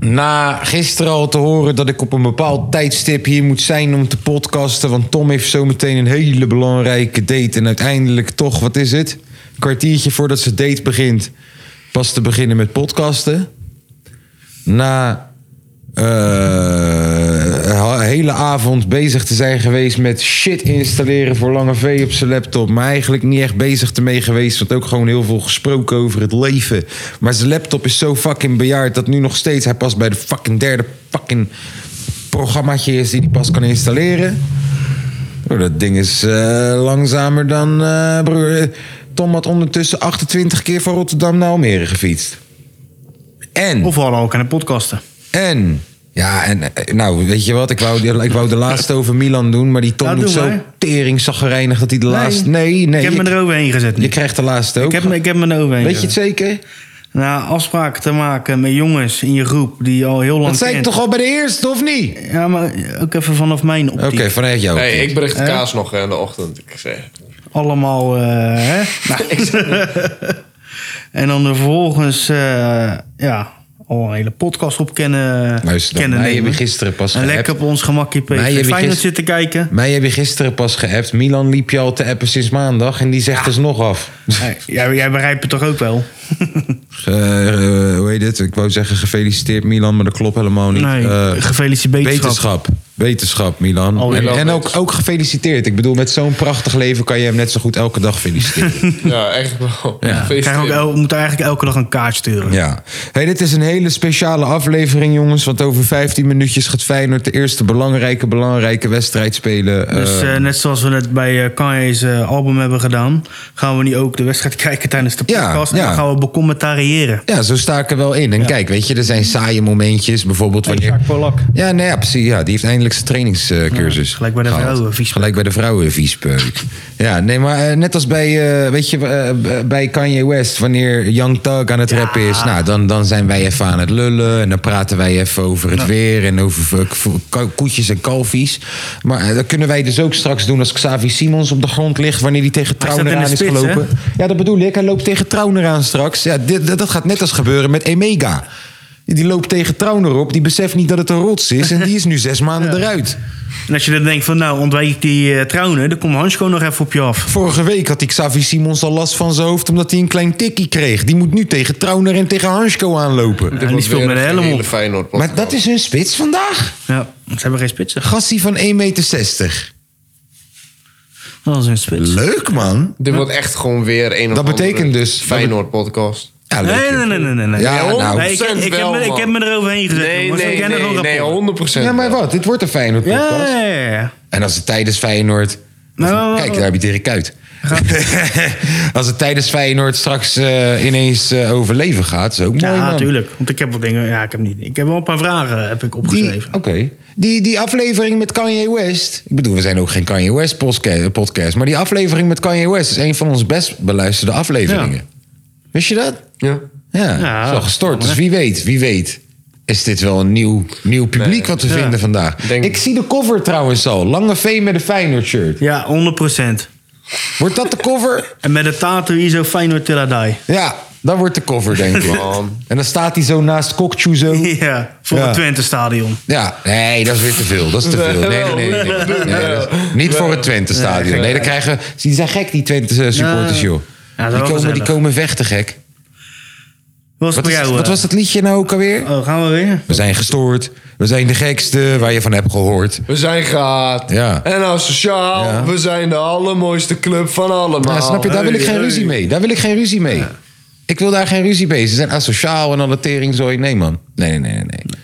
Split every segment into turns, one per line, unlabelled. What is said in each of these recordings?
Na gisteren al te horen dat ik op een bepaald tijdstip hier moet zijn om te podcasten. Want Tom heeft zometeen een hele belangrijke date. En uiteindelijk toch, wat is het? Een kwartiertje voordat zijn date begint. Pas te beginnen met podcasten. Na eh, een hele avond bezig te zijn geweest met shit installeren voor Lange V op zijn laptop. Maar eigenlijk niet echt bezig ermee geweest. Want ook gewoon heel veel gesproken over het leven. Maar zijn laptop is zo fucking bejaard dat nu nog steeds hij pas bij de fucking derde fucking programmaatje is die hij pas kan installeren. Oh, dat ding is eh, langzamer dan eh, broer. Tom had ondertussen 28 keer van Rotterdam naar Almere gefietst. En...
Of we hadden al kunnen podcasten.
En. Ja, en eh, nou, weet je wat? Ik wou, ik wou de laatste over Milan doen, maar die Tom
Ja,
doet
Nou, doe
zo
maar.
teringzaggerijnig dat hij de laatste... Nee, nee.
Ik heb
je,
me eroverheen gezet. nu.
je krijgt de laatste ook.
ik, heb, me- ik heb me eroverheen
weet je het
gezet.
zeker?
Nou, afspraken te maken met jongens in je groep die je al heel lang
Dat zei ik
kent.
toch al bij de eerste, of niet?
Ja, maar ook even vanaf mijn
Oké,
optiek.
vanuit jou.
Nee, ik bericht de kaas nog eh, in de ochtend. Ik zeg,
Allemaal, eh, hè? en dan vervolgens, eh, ja, al een hele podcast op kennen,
Luister dan,
kennen
mij
nemen.
heb je gisteren pas
En lekker
geappt.
op ons gemakje
Mij heb je
PSV Feyenoord
gisteren-
zitten kijken.
Mij heb je gisteren pas geappt. Milan liep je al te appen sinds maandag en die zegt dus nog af.
Hey, jij, jij begrijpt het toch ook wel?
Eh, eh, hoe heet dit? Ik wou zeggen gefeliciteerd Milan, maar dat klopt helemaal niet.
Nee,
Eh,
gefeliciteerd wetenschap.
Wetenschap. Wetenschap, Milan.
Oh,
en
Milan,
en ook,
wetenschap.
ook gefeliciteerd. Ik bedoel, met zo'n prachtig leven kan je hem net zo goed elke dag feliciteren.
ja, echt wel.
We
Feest
krijgen ook
in.
el- we moeten eigenlijk elke dag een kaart sturen.
ja. Hey, dit is een hele speciale aflevering, jongens. Want over 15 minuutjes gaat Feyenoord de eerste belangrijke, belangrijke wedstrijd spelen.
Dus
Eh,
eh, net zoals we het bij eh, Kanye's eh, album hebben gedaan, gaan we nu ook de wedstrijd kijken tijdens de
Ja,
podcast.
ja.
En dan gaan we becommentariëren.
ja, zo sta ik er wel in. En kijk, weet je, er zijn saaie momentjes. Bijvoorbeeld wanneer...
Polak.
Ja, nee, ja, precies. Ja, die heeft eindelijk zijn trainingscursus.
gelijk bij de
gehaald.
vrouwen, viespeuk.
Gelijk bij de vrouwen, viespeuk. Ja, nee, maar eh, net als bij, eh, weet je, eh, b- bij Kanye West, wanneer Young Thug aan het rappen is, nou, dan, dan zijn wij even aan het lullen en dan praten wij even over het weer en over eh, k- k- koetjes en kalfies. Maar eh, dat kunnen wij dus ook straks doen als Xavi Simons op de grond ligt, wanneer die tegen
Hij staat
Trauner
in de
aan is
spits, hè?
gelopen. Ja, dat bedoel ik. Hij loopt tegen Trauner aan straks. Ja, dit, dat, dat gaat net als gebeuren met Emega. Die loopt tegen Trauner op. Die beseft niet dat het een rots is. En die is nu zes maanden eruit.
En als je dan denkt van nou ontwijk ik die eh, trouwen, dan komt Hansko nog even op je af.
Vorige week had die Xavi Simons al last van zijn hoofd... omdat hij een klein tikkie kreeg. Die moet nu tegen Trauner en tegen Hansko aanlopen.
En die speelt met de helm op.
Feyenoord
Maar dat is hun spits vandaag.
Ja, ze hebben geen spitsen.
Gastie van 1,60 meter.
Dat is een spits.
Leuk, man.
Dit wordt echt gewoon weer een of
Dat betekent
andere
dus-
Feyenoord podcast.
Ja, leuk.
Nee, nee, nee, nee, nee. nee.
Ja, nou.
Nee, ik, ik, heb
wel,
me, ik
man.
heb me eroverheen gezet.
Nee,
jongens.
nee,
we kennen
nee,
gewoon
nee,
rapporten.
100
Ja, maar wat? Dit wordt een Feyenoord podcast.
Ja, ja, ja, ja.
En als het tijdens Feyenoord...
Nou,
Kijk, daar heb je Dirk Kuyt. Als het tijdens Feyenoord straks eh, ineens eh, overleven gaat, is ook mooi,
Ja,
man.
natuurlijk. Want ik heb wel dingen. Ja, ik heb niet. Ik heb wel een paar vragen heb ik
Die,
opgeschreven.
Oké. Die, die aflevering met Kanye West. Ik bedoel, we zijn ook geen Kanye West posca- podcast. Maar die aflevering met Kanye West is een van onze best beluisterde afleveringen. Wist je dat?
Ja.
Ja.
Ja.
is wel gestort. Dus wie weet, wie weet. Is dit wel een nieuw, nieuw publiek wat we vinden vandaag?
Denk-
Ik zie de cover trouwens al. Lange V met een Feyenoord shirt.
Ja, 100%.
Wordt dat de cover?
En met de tattoo ISO Feyenoord Till I die.
Ja, dat wordt de cover, denk ik.
Man.
En dan staat hij zo naast Kokchu zo.
Ja, voor
Ja.
het Twente stadion.
Ja, nee, dat is weer te veel. Dat is te veel. Nee, nee, nee. nee, nee. Nee, dat is- niet voor het Twente-stadion. Nee, dan krijgen we- Die zijn gek, die Twente-supporters, joh.
Ja, dat is
Die
wel
komen,
gezellig.
die komen vechten, gek.
Wat was het
Wat,
bij
is,
jou?
wat
eh?
was dat liedje nou ook alweer?
Oh, gaan we weer?
We zijn gestoord. We zijn de gekste waar je van hebt gehoord.
We zijn gaat.
Ja.
En asociaal.
Ja.
We zijn de allermooiste club van allemaal.
Oh,
Ja, snap je? Daar wil ik
Hey,
geen
hey.
ruzie mee. Daar wil ik geen ruzie mee. Ik wil daar geen ruzie mee. Ze zijn asociaal en alle teringzooi. Nee, man. Nee, nee, nee, nee, nee.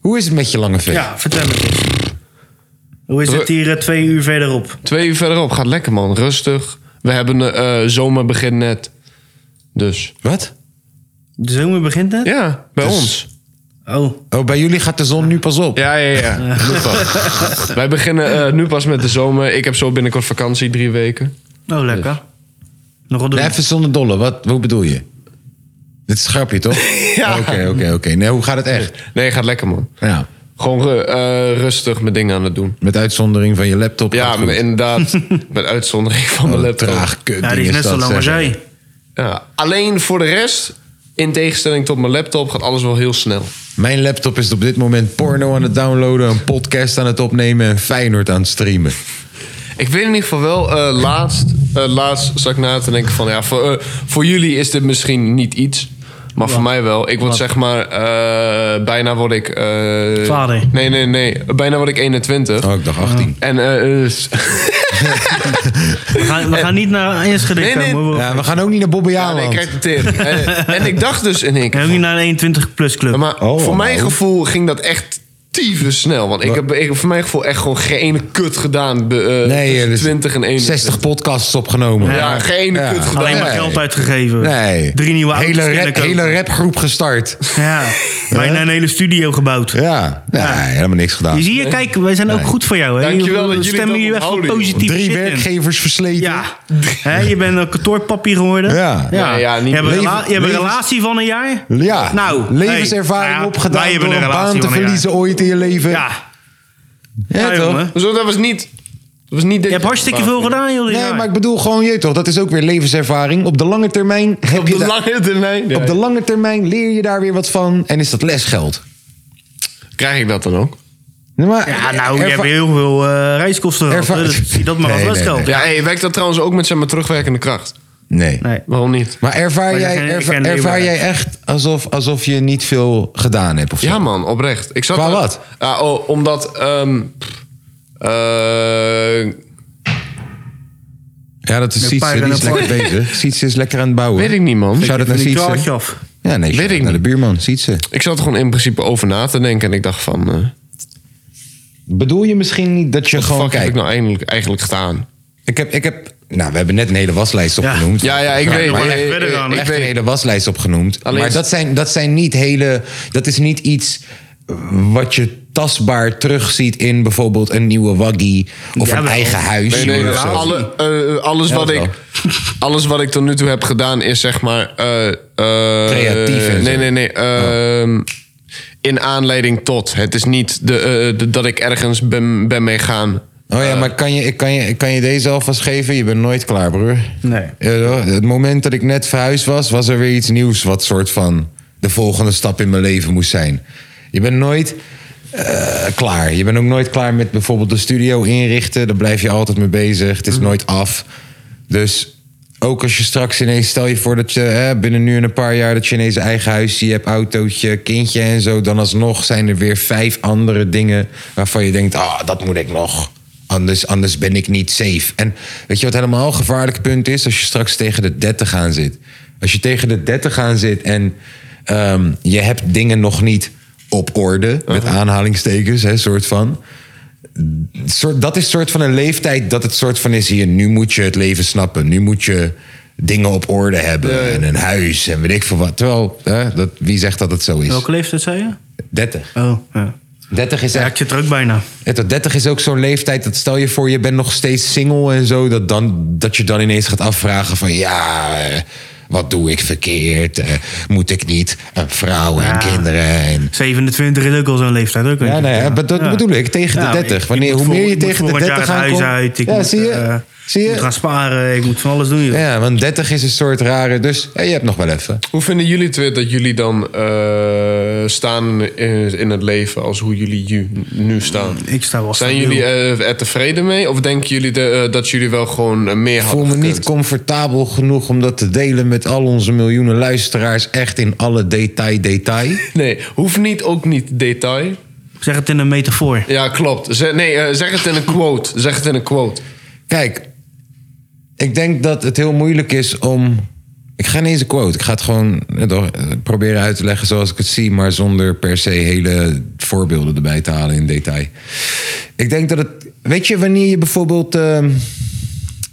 Hoe is het met je lange vet?
Ja, vertel het eens. Hoe is het
Dru-
hier eh, twee uur verderop?
Twee uur verderop. Gaat lekker, man. Rustig. We hebben eh zomer begint net. Dus.
Wat?
De zomer begint net?
Ja, bij
Dus-
ons.
Oh,
Oh, bij jullie gaat de zon nu pas op.
Ja, ja, ja. Moet wel. Wij beginnen eh, nu pas met de zomer. Ik heb zo binnenkort vakantie, drie weken.
oh lekker. Nog wat doen.
Nee, Dus. even zonder dolle. Wat, hoe bedoel je? Dit is een grapje, toch?
Ja.
Oké, oké, oké. Nee, hoe gaat het echt?
Nee, gaat lekker, man.
Ja,
Gewoon ru- eh, rustig mijn dingen aan het doen.
met uitzondering van je laptop.
Ja,
gaat goed.
maar inderdaad. Oh, met uitzondering van mijn
Wat een
laptop.
Traag kut
ja, die
ding
is net zo
dat,
lang als
zeg.
jij.
Ja. Alleen voor de rest, in tegenstelling tot mijn laptop, gaat alles wel heel snel.
Mijn laptop is op dit moment porno aan het downloaden, een podcast aan het opnemen en Feyenoord aan het streamen.
Ik weet in ieder geval wel, eh, laatst, eh, laatst zat ik na te denken van... Ja, voor, eh, voor jullie is dit misschien niet iets, maar voor mij wel. Ik word zeg maar, eh, bijna word ik... eh,
Vader.
Nee, nee, nee. Bijna word ik 21.
Oh, ik dacht 18.
En eh, eh, s-
We gaan, we gaan niet naar Enschede
Nee, nee.
komen. hoor.
Ja, we gaan ook niet naar Bobby
ja, nee, ik
Haaland.
krijg de tering. en, en ik dacht dus in één
We
keer
gaan ook niet naar een 21-plus club.
Maar
Oh,
voor mijn
nou.
gevoel ging dat echt tyfus snel. Want ik heb, ik heb voor mijn gevoel echt gewoon geen ene kut gedaan. be- eh,
nee,
tussen
er is
20 en 21.
60 podcasts opgenomen.
Ja, geen ene
Ja.
kut gedaan.
Alleen maar
Nee.
geld uitgegeven.
Nee.
Drie nieuwe auto's
hele, rap,
willen kopen.
hele rapgroep gestart.
Ja, bijna een hele studio gebouwd.
Ja, nee, helemaal niks gedaan.
Je ziet je, kijk, wij zijn ook goed voor jou. Hè?
Dankjewel dat
We
jullie
stemmen
dat
je echt wel
onthouden, joh.
positief
Drie
shit in.
werkgevers versleten.
Ja, Hè, je bent een kantoorpapier geworden.
Ja.
Nee, ja, niet
je hebt, een,
meer.
rela- je hebt een
Levens-
relatie van een jaar.
Ja.
Nou, hey,
levenservaring
nou ja, wij
opgedaan
hebben
door
een
een baan
relatie
te
van een
verliezen ooit in je leven.
Ja,
Ja,
ja,
toch?
jongen.
Zo, Dus dat was niet... Dat Ah. was niet
Je hebt hartstikke veel gedaan, joh. dit
Nee,
jaar.
maar ik bedoel gewoon, je weet toch, dat is ook weer levenservaring. Op de lange termijn heb
Op
je
de
daar-
lange termijn.
op de lange termijn leer je daar weer wat van en is dat lesgeld.
Krijg ik dat dan ook?
Nee, maar,
Ja, nou, je
erva-
hebt heel veel eh, reiskosten gehad.
Erva-
hè, dus zie dat maar als
Nee, nee,
lesgeld.
Ja, hey, werkt dat trouwens ook met zeg maar, terugwerkende kracht?
Nee.
Nee.
Waarom niet?
Maar ervaar,
Maar
jij,
ik ken- ik
erva-
ken
ervaar
Leeuwarden.
jij echt alsof, alsof je niet veel gedaan hebt? Of zo?
Ja man, oprecht. Ik zat
Qua
er-
wat?
Ja, oh, omdat... ehm, eh,
Ja, dat is Sietse.
pijlen
Die
en
is lekker bezig. Sietse is lekker aan het bouwen.
Weet ik niet, man.
Shout out
Van
naar
die klaartje
Sietse.
af.
Ja, nee, shout-out
ik
naar de
niet.
buurman, Sietse.
ik zat er gewoon in principe over na te denken. En ik dacht van... eh
Bedoel je misschien niet dat je
wat de
gewoon
fuck heb ik
kijkt?
nou eigenlijk, eigenlijk gedaan?
Ik heb, ik heb, nou, we hebben net een hele waslijst
Ja.
opgenoemd.
Ja, ja, ik weet.
nog wel
ik-
echt
ik-
verder gaan, hè?
ik
echt een
weet.
hele waslijst opgenoemd.
Alleen-
maar dat zijn, dat zijn niet hele. Dat is niet iets eh, wat je tastbaar terugziet in bijvoorbeeld een nieuwe waggie of
Ja,
een
wel.
eigen huis.
Nee, nee,
of zo.
alle, eh, alles, wat
dat
ik, alles wat ik tot nu toe heb gedaan is zeg maar... eh, eh,
Creatief en
Nee,
zo.
nee, nee. ehm, In aanleiding tot. Het is niet de, eh, de- dat ik ergens ben, ben mee gaan.
Oh
Eh.
ja, maar kan je, ik kan, je, ik kan je deze alvast geven? Je bent nooit klaar, broer.
Nee.
Ja, toch? het moment dat ik net verhuisd was, was er weer iets nieuws... wat soort van de volgende stap in mijn leven moest zijn. Je bent nooit eh, klaar. Je bent ook nooit klaar met bijvoorbeeld de studio inrichten. Daar blijf je altijd mee bezig. Het is nooit af. Dus ook als je straks ineens... stel je voor dat je hè, binnen nu en een paar jaar... dat je ineens een eigen huisje hebt, autootje, kindje en zo... dan alsnog zijn er weer vijf andere dingen... waarvan je denkt, ah, dat moet ik nog... Anders, anders ben ik niet safe. En weet je wat helemaal een gevaarlijk punt is? Als je straks tegen de 30 aan zit. Als je tegen de 30 aan zit en ehm, je hebt dingen nog niet op orde. Met aanhalingstekens, hè, soort van. Soort, dat is soort van een leeftijd dat het soort van is hier. Nu moet je het leven snappen. Nu moet je dingen op orde hebben. En een huis en weet ik veel wat. Terwijl, hè, dat, wie zegt dat het zo is?
Welke leeftijd zei je?
30.
Oh, ja.
30 is
Ja,
echt
ik zit er ook bijna.
ja, tot 30 is ook zo'n leeftijd dat stel je voor je bent nog steeds single en zo, dat, dan, dat je dan ineens gaat afvragen van ja, eh, wat doe ik verkeerd? Eh, Moet ik niet een vrouw en
Ja.
kinderen? En...
27 is ook al zo'n leeftijd. Ook,
Ja,
weet je.
nee, hè, maar dat
Ja.
bedoel ik, tegen
Ja,
de
maar ik-
30.
ik
Wanneer,
moet
hoe
vol-
meer je
ik moet
tegen de
volgend jaar
30
het
aankomt...
huis uit, ik
ja,
moet,
zie je?
eh,
zie
Ik moet gaan
je?
sparen, ik moet van alles doen. joh.
Ja, want 30 is een soort rare, dus hé, je hebt nog wel even.
Hoe vinden jullie het weer dat jullie dan eh, staan in, in het leven als hoe jullie ju- nu staan?
Ik sta wel
Zijn
stabiel.
jullie eh, er tevreden mee? Of denken jullie de, eh, dat jullie wel gewoon eh, meer
Ik
hadden
voel me niet
gekund?
comfortabel genoeg om dat te delen met al onze miljoenen luisteraars. Echt in alle detail, detail.
Nee, hoeft niet, ook niet detail.
Zeg het in een metafoor.
Ja, klopt. Ze- nee, eh, zeg het in een quote. Zeg het in een quote.
Kijk, ik denk dat het heel moeilijk is om. Ik ga niet eens een quote. Ik ga het gewoon eh, toch, eh, proberen uit te leggen zoals ik het zie, maar zonder per se hele voorbeelden erbij te halen in detail. Ik denk dat het. Weet je wanneer je bijvoorbeeld. ehm,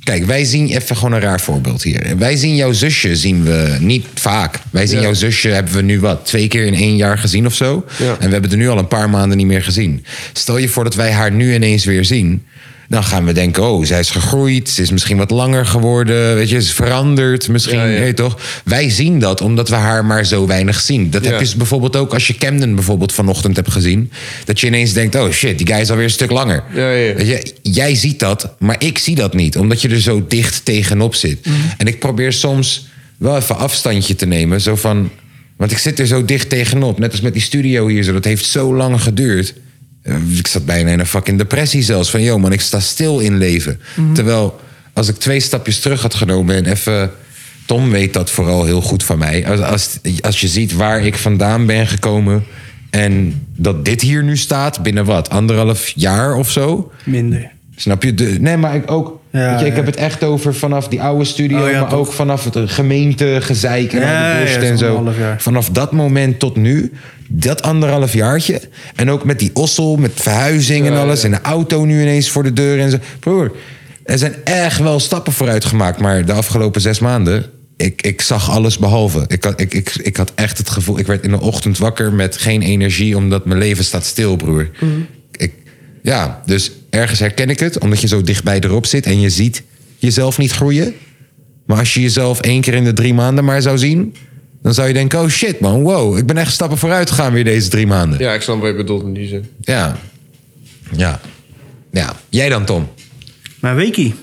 Kijk, wij zien even gewoon een raar voorbeeld hier. Wij zien jouw zusje, zien we niet vaak. Wij zien
Ja.
jouw zusje, hebben we nu wat, twee keer in één jaar gezien of zo.
Ja.
En we hebben het nu al een paar maanden niet meer gezien. Stel je voor dat wij haar nu ineens weer zien. Dan gaan we denken, oh, zij is gegroeid. Ze is misschien wat langer geworden. Weet je, ze is veranderd. Misschien,
Ja, ja.
weet je toch? Wij zien dat omdat we haar maar zo weinig zien. Dat
Ja.
heb je dus bijvoorbeeld ook als je Camden bijvoorbeeld vanochtend hebt gezien. Dat je ineens denkt, oh shit, die guy is alweer een stuk langer.
Ja, ja.
Weet je, jij ziet dat, maar ik zie dat niet. Omdat je er zo dicht tegenop zit. En ik probeer soms wel even afstandje te nemen. Zo van, want ik zit er zo dicht tegenop. Net als met die studio hier. Zo, dat heeft zo lang geduurd. Eh, Ik zat bijna in een fucking depressie zelfs. Van, yo man, ik sta stil in leven. Terwijl, als ik twee stapjes terug had genomen en even... Tom weet dat vooral heel goed van mij. Als, als, als je ziet waar ik vandaan ben gekomen... en dat dit hier nu staat binnen wat? Anderhalf jaar of zo?
Minder.
Snap je? De, nee, maar ik ook.
Ja,
weet je, ik
ja.
heb het echt over vanaf die oude studio,
Oh ja,
maar
toch.
ook vanaf het eh, gemeentegezeik en
Ja,
al
ja,
die bullshit
zo'n
en zo.
half jaar.
Vanaf dat moment tot nu, dat anderhalf jaartje. En ook met die ossel, met verhuizing en
Ja,
alles.
ja.
En de auto nu ineens voor de deur en zo. Broer, er zijn echt wel stappen vooruit gemaakt, maar de afgelopen zes maanden. Ik, ik zag alles behalve. Ik had, ik, ik, ik had echt het gevoel. Ik werd in de ochtend wakker met geen energie, omdat mijn leven staat stil, broer.
Mhm.
Ik, ja, dus ergens herken ik het, omdat je zo dichtbij erop zit en je ziet jezelf niet groeien. Maar als je jezelf één keer in de drie maanden maar zou zien, dan zou je denken: oh shit man, wow, ik ben echt stappen vooruit gegaan weer deze drie maanden. Ja.
Ja, ik snap wat je bedoelt in die zin.
Ja. Ja. Jij dan, Tom?
Maar Weekie.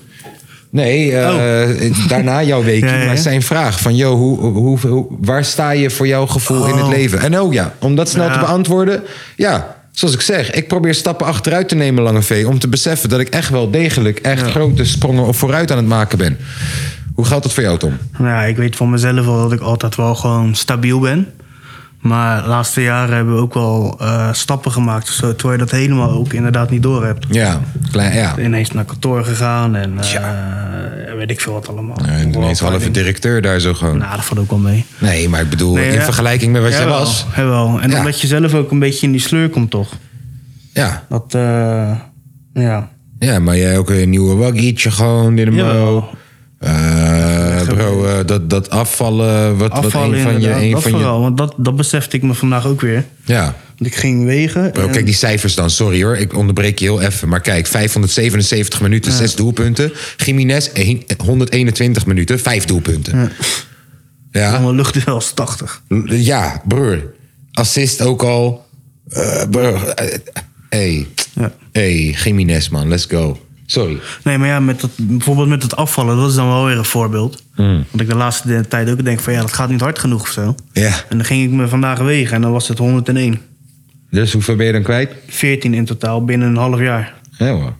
Nee, eh, daarna jouw weekje.
Oh. Ja, ja, ja.
Maar zijn vraag van, joh, hoe, hoe, hoe- waar sta je voor jouw gevoel in het leven? En oh ja, om dat snel
Ja.
te beantwoorden. Ja, zoals ik zeg, ik probeer stappen achteruit te nemen, Lange V. Om te beseffen dat ik echt wel degelijk echt grote sprongen vooruit aan het maken ben. Hoe gaat dat voor jou, Tom?
Nou ja, ik weet van mezelf wel dat ik altijd wel gewoon stabiel ben. Maar de laatste jaren hebben we ook wel eh, stappen gemaakt. of zo, terwijl je dat helemaal ook inderdaad niet door hebt.
Ja, klein, ja.
Ineens naar kantoor gegaan en eh, weet ik veel wat allemaal.
Eh, Ineens halve directeur daar zo gewoon.
Nou, dat valt ook wel mee.
Nee, maar ik bedoel,
Nee,
in
ja.
vergelijking met wat jij
Jawel,
was.
Jawel. En
Ja.
omdat je zelf ook een beetje in die sleur komt, toch?
Ja.
Dat, eh, ja.
Ja, maar jij ook een nieuwe waggietje gewoon, dit en
Jawel.
mo. Eh, bro, eh, dat, dat afvallen, wat,
Afvallen
wat een van je...
inderdaad,
Een
dat
van je
vooral. Want dat, dat besefte ik me vandaag ook weer.
ja,
Want ik ging wegen.
bro,
en-
Oh, kijk die cijfers dan. Sorry hoor, ik onderbreek je heel even. Maar kijk, 577 minuten, 6 doelpunten. Jiménez, eh, één- 121 minuten, 5 doelpunten. Ja,
Mijn lucht is wel eens 80.
ja, broer. Assist ook al. Eh broer, eh, hey,
Ja.
hey, Jiménez man, let's go. Sorry.
Nee, maar ja, met dat, bijvoorbeeld met het afvallen, dat is dan wel weer een voorbeeld.
Hmm.
Want ik de laatste de- tijd ook denk van ja, dat gaat niet hard genoeg of zo.
Ja,
En dan ging ik me vandaag wegen en dan was het 101.
dus hoeveel ben je dan kwijt?
14 in totaal binnen een half jaar.
Ja hoor.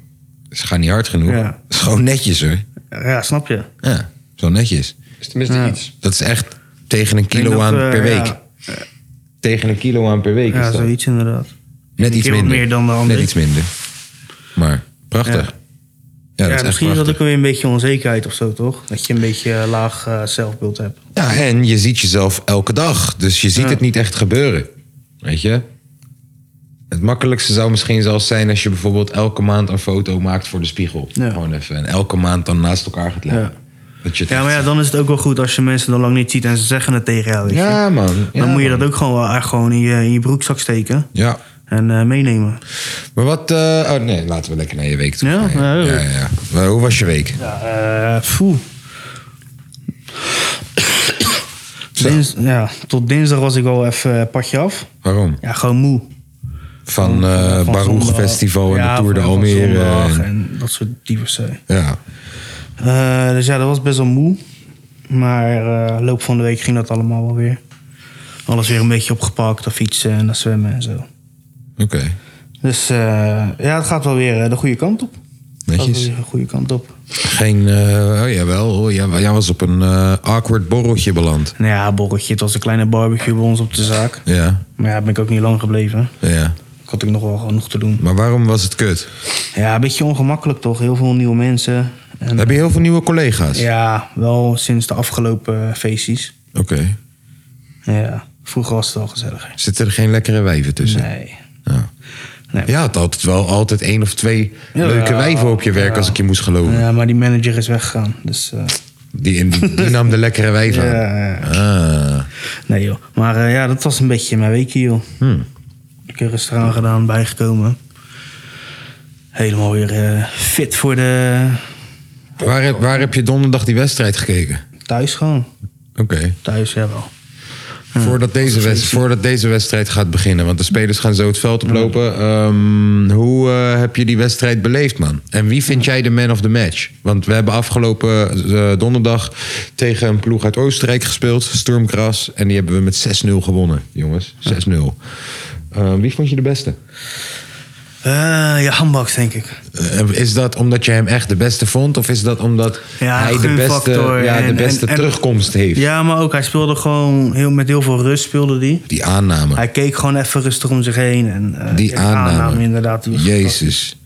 Ze gaan niet hard genoeg.
Ja.
Het is gewoon netjes hoor.
Ja, snap je?
Ja, zo netjes.
Is tenminste iets.
Dat is echt tegen een
denk
kilo
dat,
aan
eh,
per
ja.
week. Tegen een kilo aan per week
Ja,
is dat.
zoiets inderdaad.
Net
Een
iets
keer wat
minder.
meer dan de ander.
Net iets minder. Maar prachtig.
Ja.
Ja, dat
Ja,
is echt
misschien is dat ook
prachtig.
weer een beetje onzekerheid of zo, toch? Dat je een beetje eh, laag eh, zelfbeeld hebt.
Ja, en je ziet jezelf elke dag. Dus je ziet
Ja.
het niet echt gebeuren. Weet je? Het makkelijkste zou misschien zelfs zijn als je bijvoorbeeld elke maand een foto maakt voor de spiegel.
Ja.
Gewoon even. En elke maand dan naast elkaar gaat leggen.
Ja.
Dat je het
Ja,
echt
maar ja,
ziet.
dan is het ook wel goed als je mensen dan lang niet ziet en ze zeggen het tegen jou. Weet je?
ja, man.
dan
Ja,
moet je
man.
dat ook gewoon, wel echt gewoon in, je, in je broekzak steken
Ja.
en eh, meenemen.
Maar wat... eh, oh nee, laten we lekker naar je week toe
Ja?
gaan.
Ja,
ja,
ja.
ja, ja. Maar Hoe was je week?
Ja, eh, foe. Dins- ja, tot dinsdag was ik al even eh, padje af.
Waarom?
Ja, gewoon moe.
Van eh
Van
Baruch
zondag-
Festival en
Ja,
de Tour de
van- van
Almere.
zondag
en-
en dat soort diverse.
ja.
Eh, dus ja, dat was best wel moe. Maar eh, loop van de week ging dat allemaal wel weer. Alles weer een beetje opgepakt, dat fietsen en dat zwemmen en zo.
Oké.
Dus eh, ja, het gaat wel weer eh, de goede kant op. Het gaat wel
Netjes.
weer de goede kant op.
Geen... eh, oh jawel. Oh, ja, jij was op een eh, awkward borreltje beland.
Nou ja, borreltje, het was een kleine barbecue bij ons op de zaak.
Ja.
Maar ja, ben ik ook niet lang gebleven.
Ja.
Ik had ook nog wel genoeg te doen.
Maar waarom was het kut?
Ja, een beetje ongemakkelijk toch. Heel veel nieuwe mensen. En,
Heb je heel veel nieuwe collega's?
Ja, wel sinds de afgelopen eh, feestjes.
Oké.
Ja, vroeger was het al gezelliger.
Zitten er geen lekkere wijven tussen?
Nee.
Ja.
Nee.
Ja, het had wel altijd één of twee
Ja,
leuke
ja,
wijven op je werk,
ja.
als ik je moest geloven.
Ja, maar die manager is weggegaan. Dus, eh,
Die, die, die nam de lekkere wijf aan.
ja, ja.
Ah.
Nee joh. Maar eh, ja, dat was een beetje mijn weekje joh.
Hmm.
Ik heb rustig aan gedaan, bijgekomen. Helemaal weer eh, fit voor de
Waar, heb- waar heb je donderdag die wedstrijd gekeken?
thuis gewoon.
Oké.
Thuis, jawel. Mm.
Voordat, deze wedst- voordat deze wedstrijd gaat beginnen, want de spelers gaan zo het veld oplopen. ehm, hoe eh, heb je die wedstrijd beleefd, man? En wie vind jij de man of the match? Want we hebben afgelopen eh, donderdag tegen een ploeg uit Oostenrijk gespeeld, Sturmkras. En die hebben we met 6-0 gewonnen, jongens. 6-0. Ehm, wie vond je de beste?
Eh, ja, handbaks denk ik.
Eh, Is dat omdat je hem echt de beste vond? Of is dat omdat
Ja,
hij de
gunfactor
beste, ja, de
en-
beste
en- en-
terugkomst heeft?
Ja, maar ook hij speelde gewoon heel, met heel veel rust speelde die.
Die aanname.
Hij keek gewoon even rustig om zich heen. En, eh,
Die
de
aanname.
inderdaad. die was-
Jezus.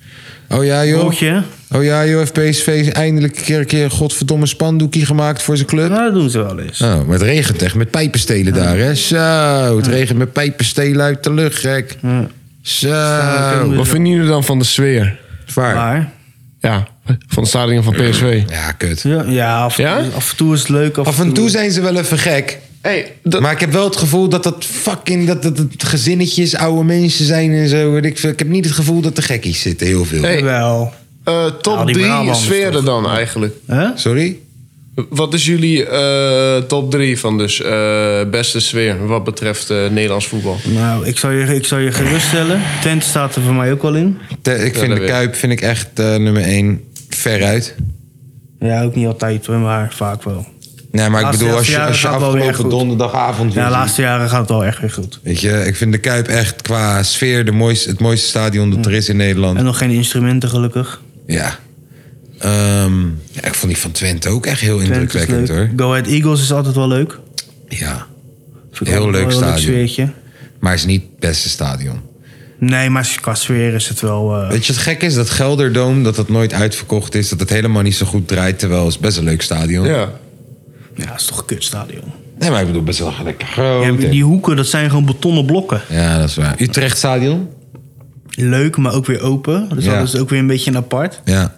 Oh ja, joh.
Broodje.
Oh ja, joh, heeft PSV eindelijk een keer een keer godverdomme spandoekie gemaakt voor zijn club?
Nou, dat doen ze wel eens.
Oh, maar het regent echt met pijpenstelen daar, hè? Zo, het regent met pijpenstelen uit de lucht, gek. Zo.
Wat vinden jullie dan van de sfeer?
Zwaar.
Maar
Ja, van het stadion van PSV.
Ja, kut.
ja, ja, af,
Ja?
af en toe is het leuk. Af,
Af en toe zijn ze wel even gek.
Hey, dat-
Maar ik heb wel het gevoel dat dat fucking dat, dat, dat gezinnetjes, oude mensen zijn en zo. weet Ik, veel. ik heb niet het gevoel dat er gekkies zitten, heel veel.
Hey.
Wel.
eh, top
Nou, die
drie
Brabanders
sferen
toch?
dan eigenlijk.
Hè?
Sorry?
Wat is jullie eh, top drie van dus eh, beste sfeer wat betreft eh, Nederlands voetbal?
Nou, ik zal je, ik zal je geruststellen. Twente staat er voor mij ook wel in.
Te- ik
Ja, dat
vind de
weet ik.
Kuip vind ik echt eh, nummer één veruit.
Ja, ook niet altijd hoor, maar vaak wel.
Nee, maar ik
Laatste-
bedoel, als je,
laatste
als je
jaren gaat wel weer
afgelopen
goed. Ja,
donderdagavond... weer
de
ziet-
laatste jaren gaat het wel echt weer goed.
Weet je, ik vind de Kuip echt qua sfeer de mooiste, het mooiste stadion
Hm.
dat er is in Nederland.
En nog geen instrumenten gelukkig.
Ja. Ehm, ja. Ik vond die van Twente ook echt heel
Twente is
indrukwekkend
leuk.
hoor.
Go Ahead Eagles is altijd wel leuk.
Ja.
Vind ik
Heel
altijd
leuk
wel een
stadion.
sfeertje.
Maar het is niet het beste stadion.
Nee, maar qua sfeer is het wel... eh,
Weet je wat gek is? Dat Gelderdoom, dat dat nooit uitverkocht is. Dat het helemaal niet zo goed draait. Terwijl het is best een leuk stadion.
Ja.
ja, het is toch een kutstadion.
Nee, maar ik bedoel, best wel lekker
Ja,
groot.
maar
en-
die hoeken, dat zijn gewoon betonnen blokken.
Ja, dat is waar. Utrecht Stadion?
Leuk, maar ook weer open. Dus
Ja.
dat is ook weer een beetje een apart.
Ja.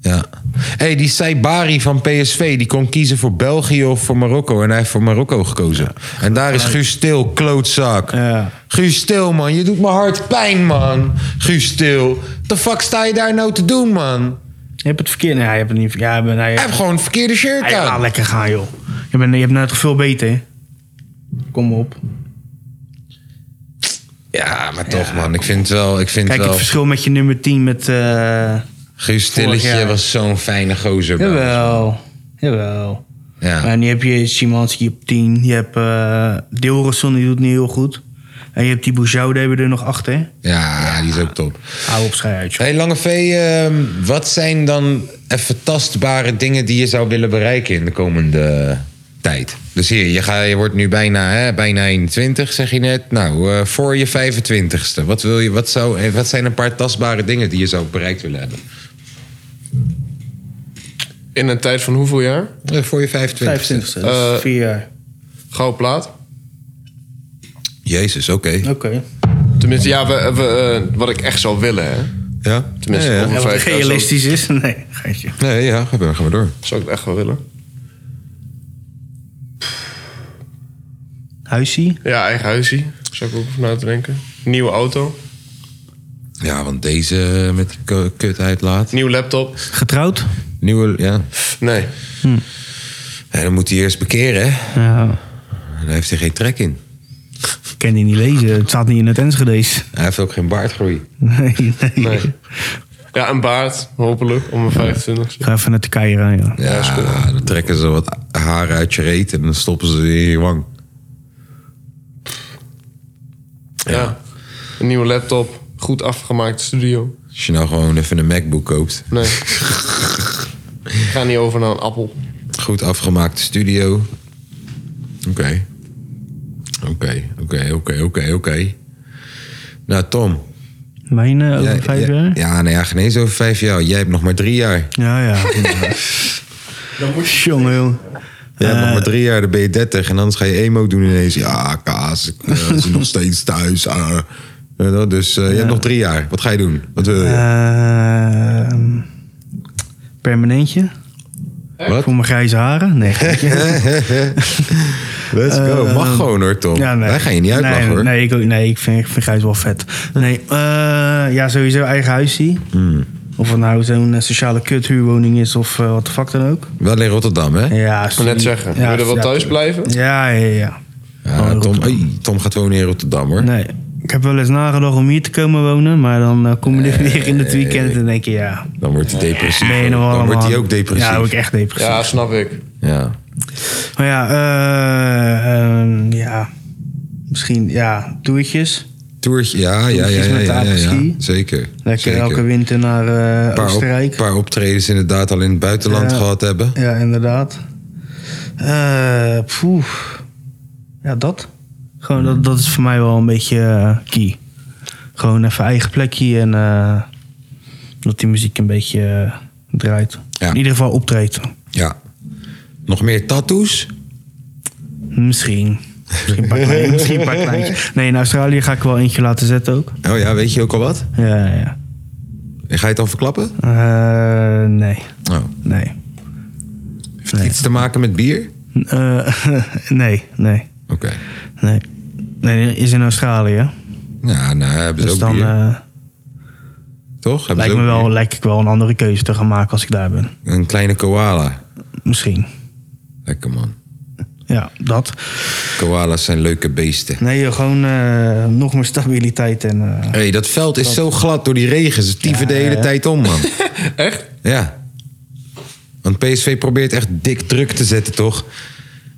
Ja. hey, die Saibari van PSV, die kon kiezen voor België of voor Marokko. En hij heeft voor Marokko gekozen. en daar is Guus Stil, klootzak.
Ja.
Guus Stil, man. Je doet mijn hart pijn, man. Guus Stil. The fuck sta je daar nou te doen, man?
Je hebt het verkeerd. Nee, je hebt het niet. Ja, maar nee,
Hij heeft gewoon het verkeerde shirt
ja, laat
aan.
lekker gaan, joh. Je, bent, je hebt nou toch veel beter. hè? Kom op.
Ja, maar toch, man. Ik vind het wel... Ik vind
Kijk,
wel
het verschil met je nummer 10 met. eh
Guus Stilletje
jaar.
was zo'n fijne gozer. man.
jawel. Jawel.
Ja.
En nu heb je Simanski op 10. Je hebt eh Deelrosson, die doet het niet heel goed. En je hebt die Boujou, die hebben we er nog achter.
ja, die is ook top.
Hou op, schei uit. joh.
Hey Lange V, ehm, wat zijn dan even tastbare dingen die je zou willen bereiken in de komende tijd? Dus hier, je, ga, je wordt nu bijna, hè, bijna 21, zeg je net. Nou, eh, voor je 25ste, wat, wil je, wat, zou, eh, wat zijn een paar tastbare dingen die je zou bereikt willen hebben?
In een tijd van hoeveel jaar?
Eh, voor je 25ste.
25 e
Eh,
dus 4 jaar.
Gouden plaat.
Jezus, oké.
Oké.
Tenminste, ja, we, we, eh, wat ik echt zou willen, hè.
Ja?
Tenminste,
ja,
over
Ja, wat
vijf jaar
realistisch is? Nee, geitje.
Nee, ja, ga maar, ga maar door.
Zou ik het echt wel willen?
Huisie?
Ja, eigen huisje. Zou ik ook over na te denken. Nieuwe auto.
Ja, want deze met die k- kut uitlaat.
Nieuw laptop.
Getrouwd?
Nieuwe, ja.
Nee.
En dan moet hij eerst bekeren, hè.
Ja.
En Daar heeft hij geen trek in.
Ik kan die niet lezen. Het staat niet in het Enschede's.
Hij heeft ook geen baardgroei.
Nee, nee.
Nee. Ja, een baard. Hopelijk. Om mijn 25
Ga even naar Turkije rijden. Ja.
Ja, Ah, dan trekken ze wat haren uit je reet en dan stoppen ze die in je wang.
ja. Een nieuwe laptop. Goed afgemaakt studio.
Als je nou gewoon even een MacBook koopt.
Nee. ik ga niet over naar een appel.
Goed afgemaakte studio. Oké. Oké, oké, oké, oké, oké. Nou, Tom.
Mijn eh, over
jij-
vijf
jij-
jaar?
Ja, nou ja, geen eens over vijf jaar. Jij hebt nog maar drie jaar.
Ja, ja. Jongen, jongen.
Jij hebt nog maar drie jaar, dan eh, ben je dertig. En anders ga je emo doen ineens. Ja, kaas, ik eh, zit nog steeds thuis. ah. Weet je wel, Dus eh, je hebt nog drie jaar. Wat ga je doen? Wat wil je?
Ehm, permanentje.
Wat?
Voor mijn grijze haren? Nee.
Let's go.
Eh,
Mag gewoon hoor, Tom.
Ja, nee.
Wij gaan je niet uitlachen
nee,
hoor.
Nee, ik, ook- nee, ik vind, ik vind grijs wel vet. Nee, eh, ja, sowieso eigen huisje.
Hmm.
Of het nou zo'n eh, sociale kuthuurwoning is of eh, wat de fuck dan ook.
Wel in Rotterdam, hè?
Ja,
Ik wil net zeggen, wil je er wel thuis blijven?
Ja, ja, ja.
Ja,
Oh,
Tom,
Rotterdam.
Oei, Tom gaat wonen in Rotterdam hoor.
Nee. Ik heb wel eens nagedacht om hier te komen wonen, maar dan eh, kom je er weer in het weekend en denk je, ja,
Dan wordt hij depressief.
ben je nog
dan
wel
wordt hij
allemaal-
ook depressief.
Ja,
Ja,
word ik echt depressief.
Ja, snap ik.
Maar ja, eh, ehm, ja, misschien, ja, toertjes.
Toertje, ja, ja, ja,
Toertjes
ja,
met de
ja, ja,
apreski.
Zeker.
Lekker
zeker.
elke winter naar eh,
paar, op-
Oostenrijk.
paar optredens inderdaad al in het buitenland
Ja.
gehad hebben.
Ja, inderdaad. Eh poeh. Ja, dat. Gewoon, dat, dat is voor mij wel een beetje eh, key. Gewoon even eigen plekje en eh, dat die muziek een beetje eh, draait.
Ja.
In ieder geval optreedt.
Ja. Nog meer tattoos?
Misschien. Misschien een paar klein- misschien een paar kleintjes. Nee, in Australië ga ik wel eentje laten zetten ook.
Oh ja, weet je ook al wat?
Ja, ja.
En Ga je het dan verklappen?
Eh, nee,
Oh.
nee.
Heeft het iets te maken met bier?
Eh, nee, nee,
Oké.
nee. Nee, is in Australië.
Ja, nou hebben ze
Dus
ook
dan...
bier.
eh,
Toch? Hebben
Lijkt
ze
me
ook
wel,
bier?
lijkt ik wel een andere keuze te gaan maken als ik daar ben.
Een kleine koala.
Misschien.
Lekker man.
Ja, dat.
Koala's zijn leuke beesten.
Nee, joh, gewoon eh, nog meer stabiliteit en... eh,
Hé, hey, dat veld is zo glad door die regen. Ze tieven de hele tijd om, man.
Echt?
Ja. Want PSV probeert echt dik druk te zetten, toch?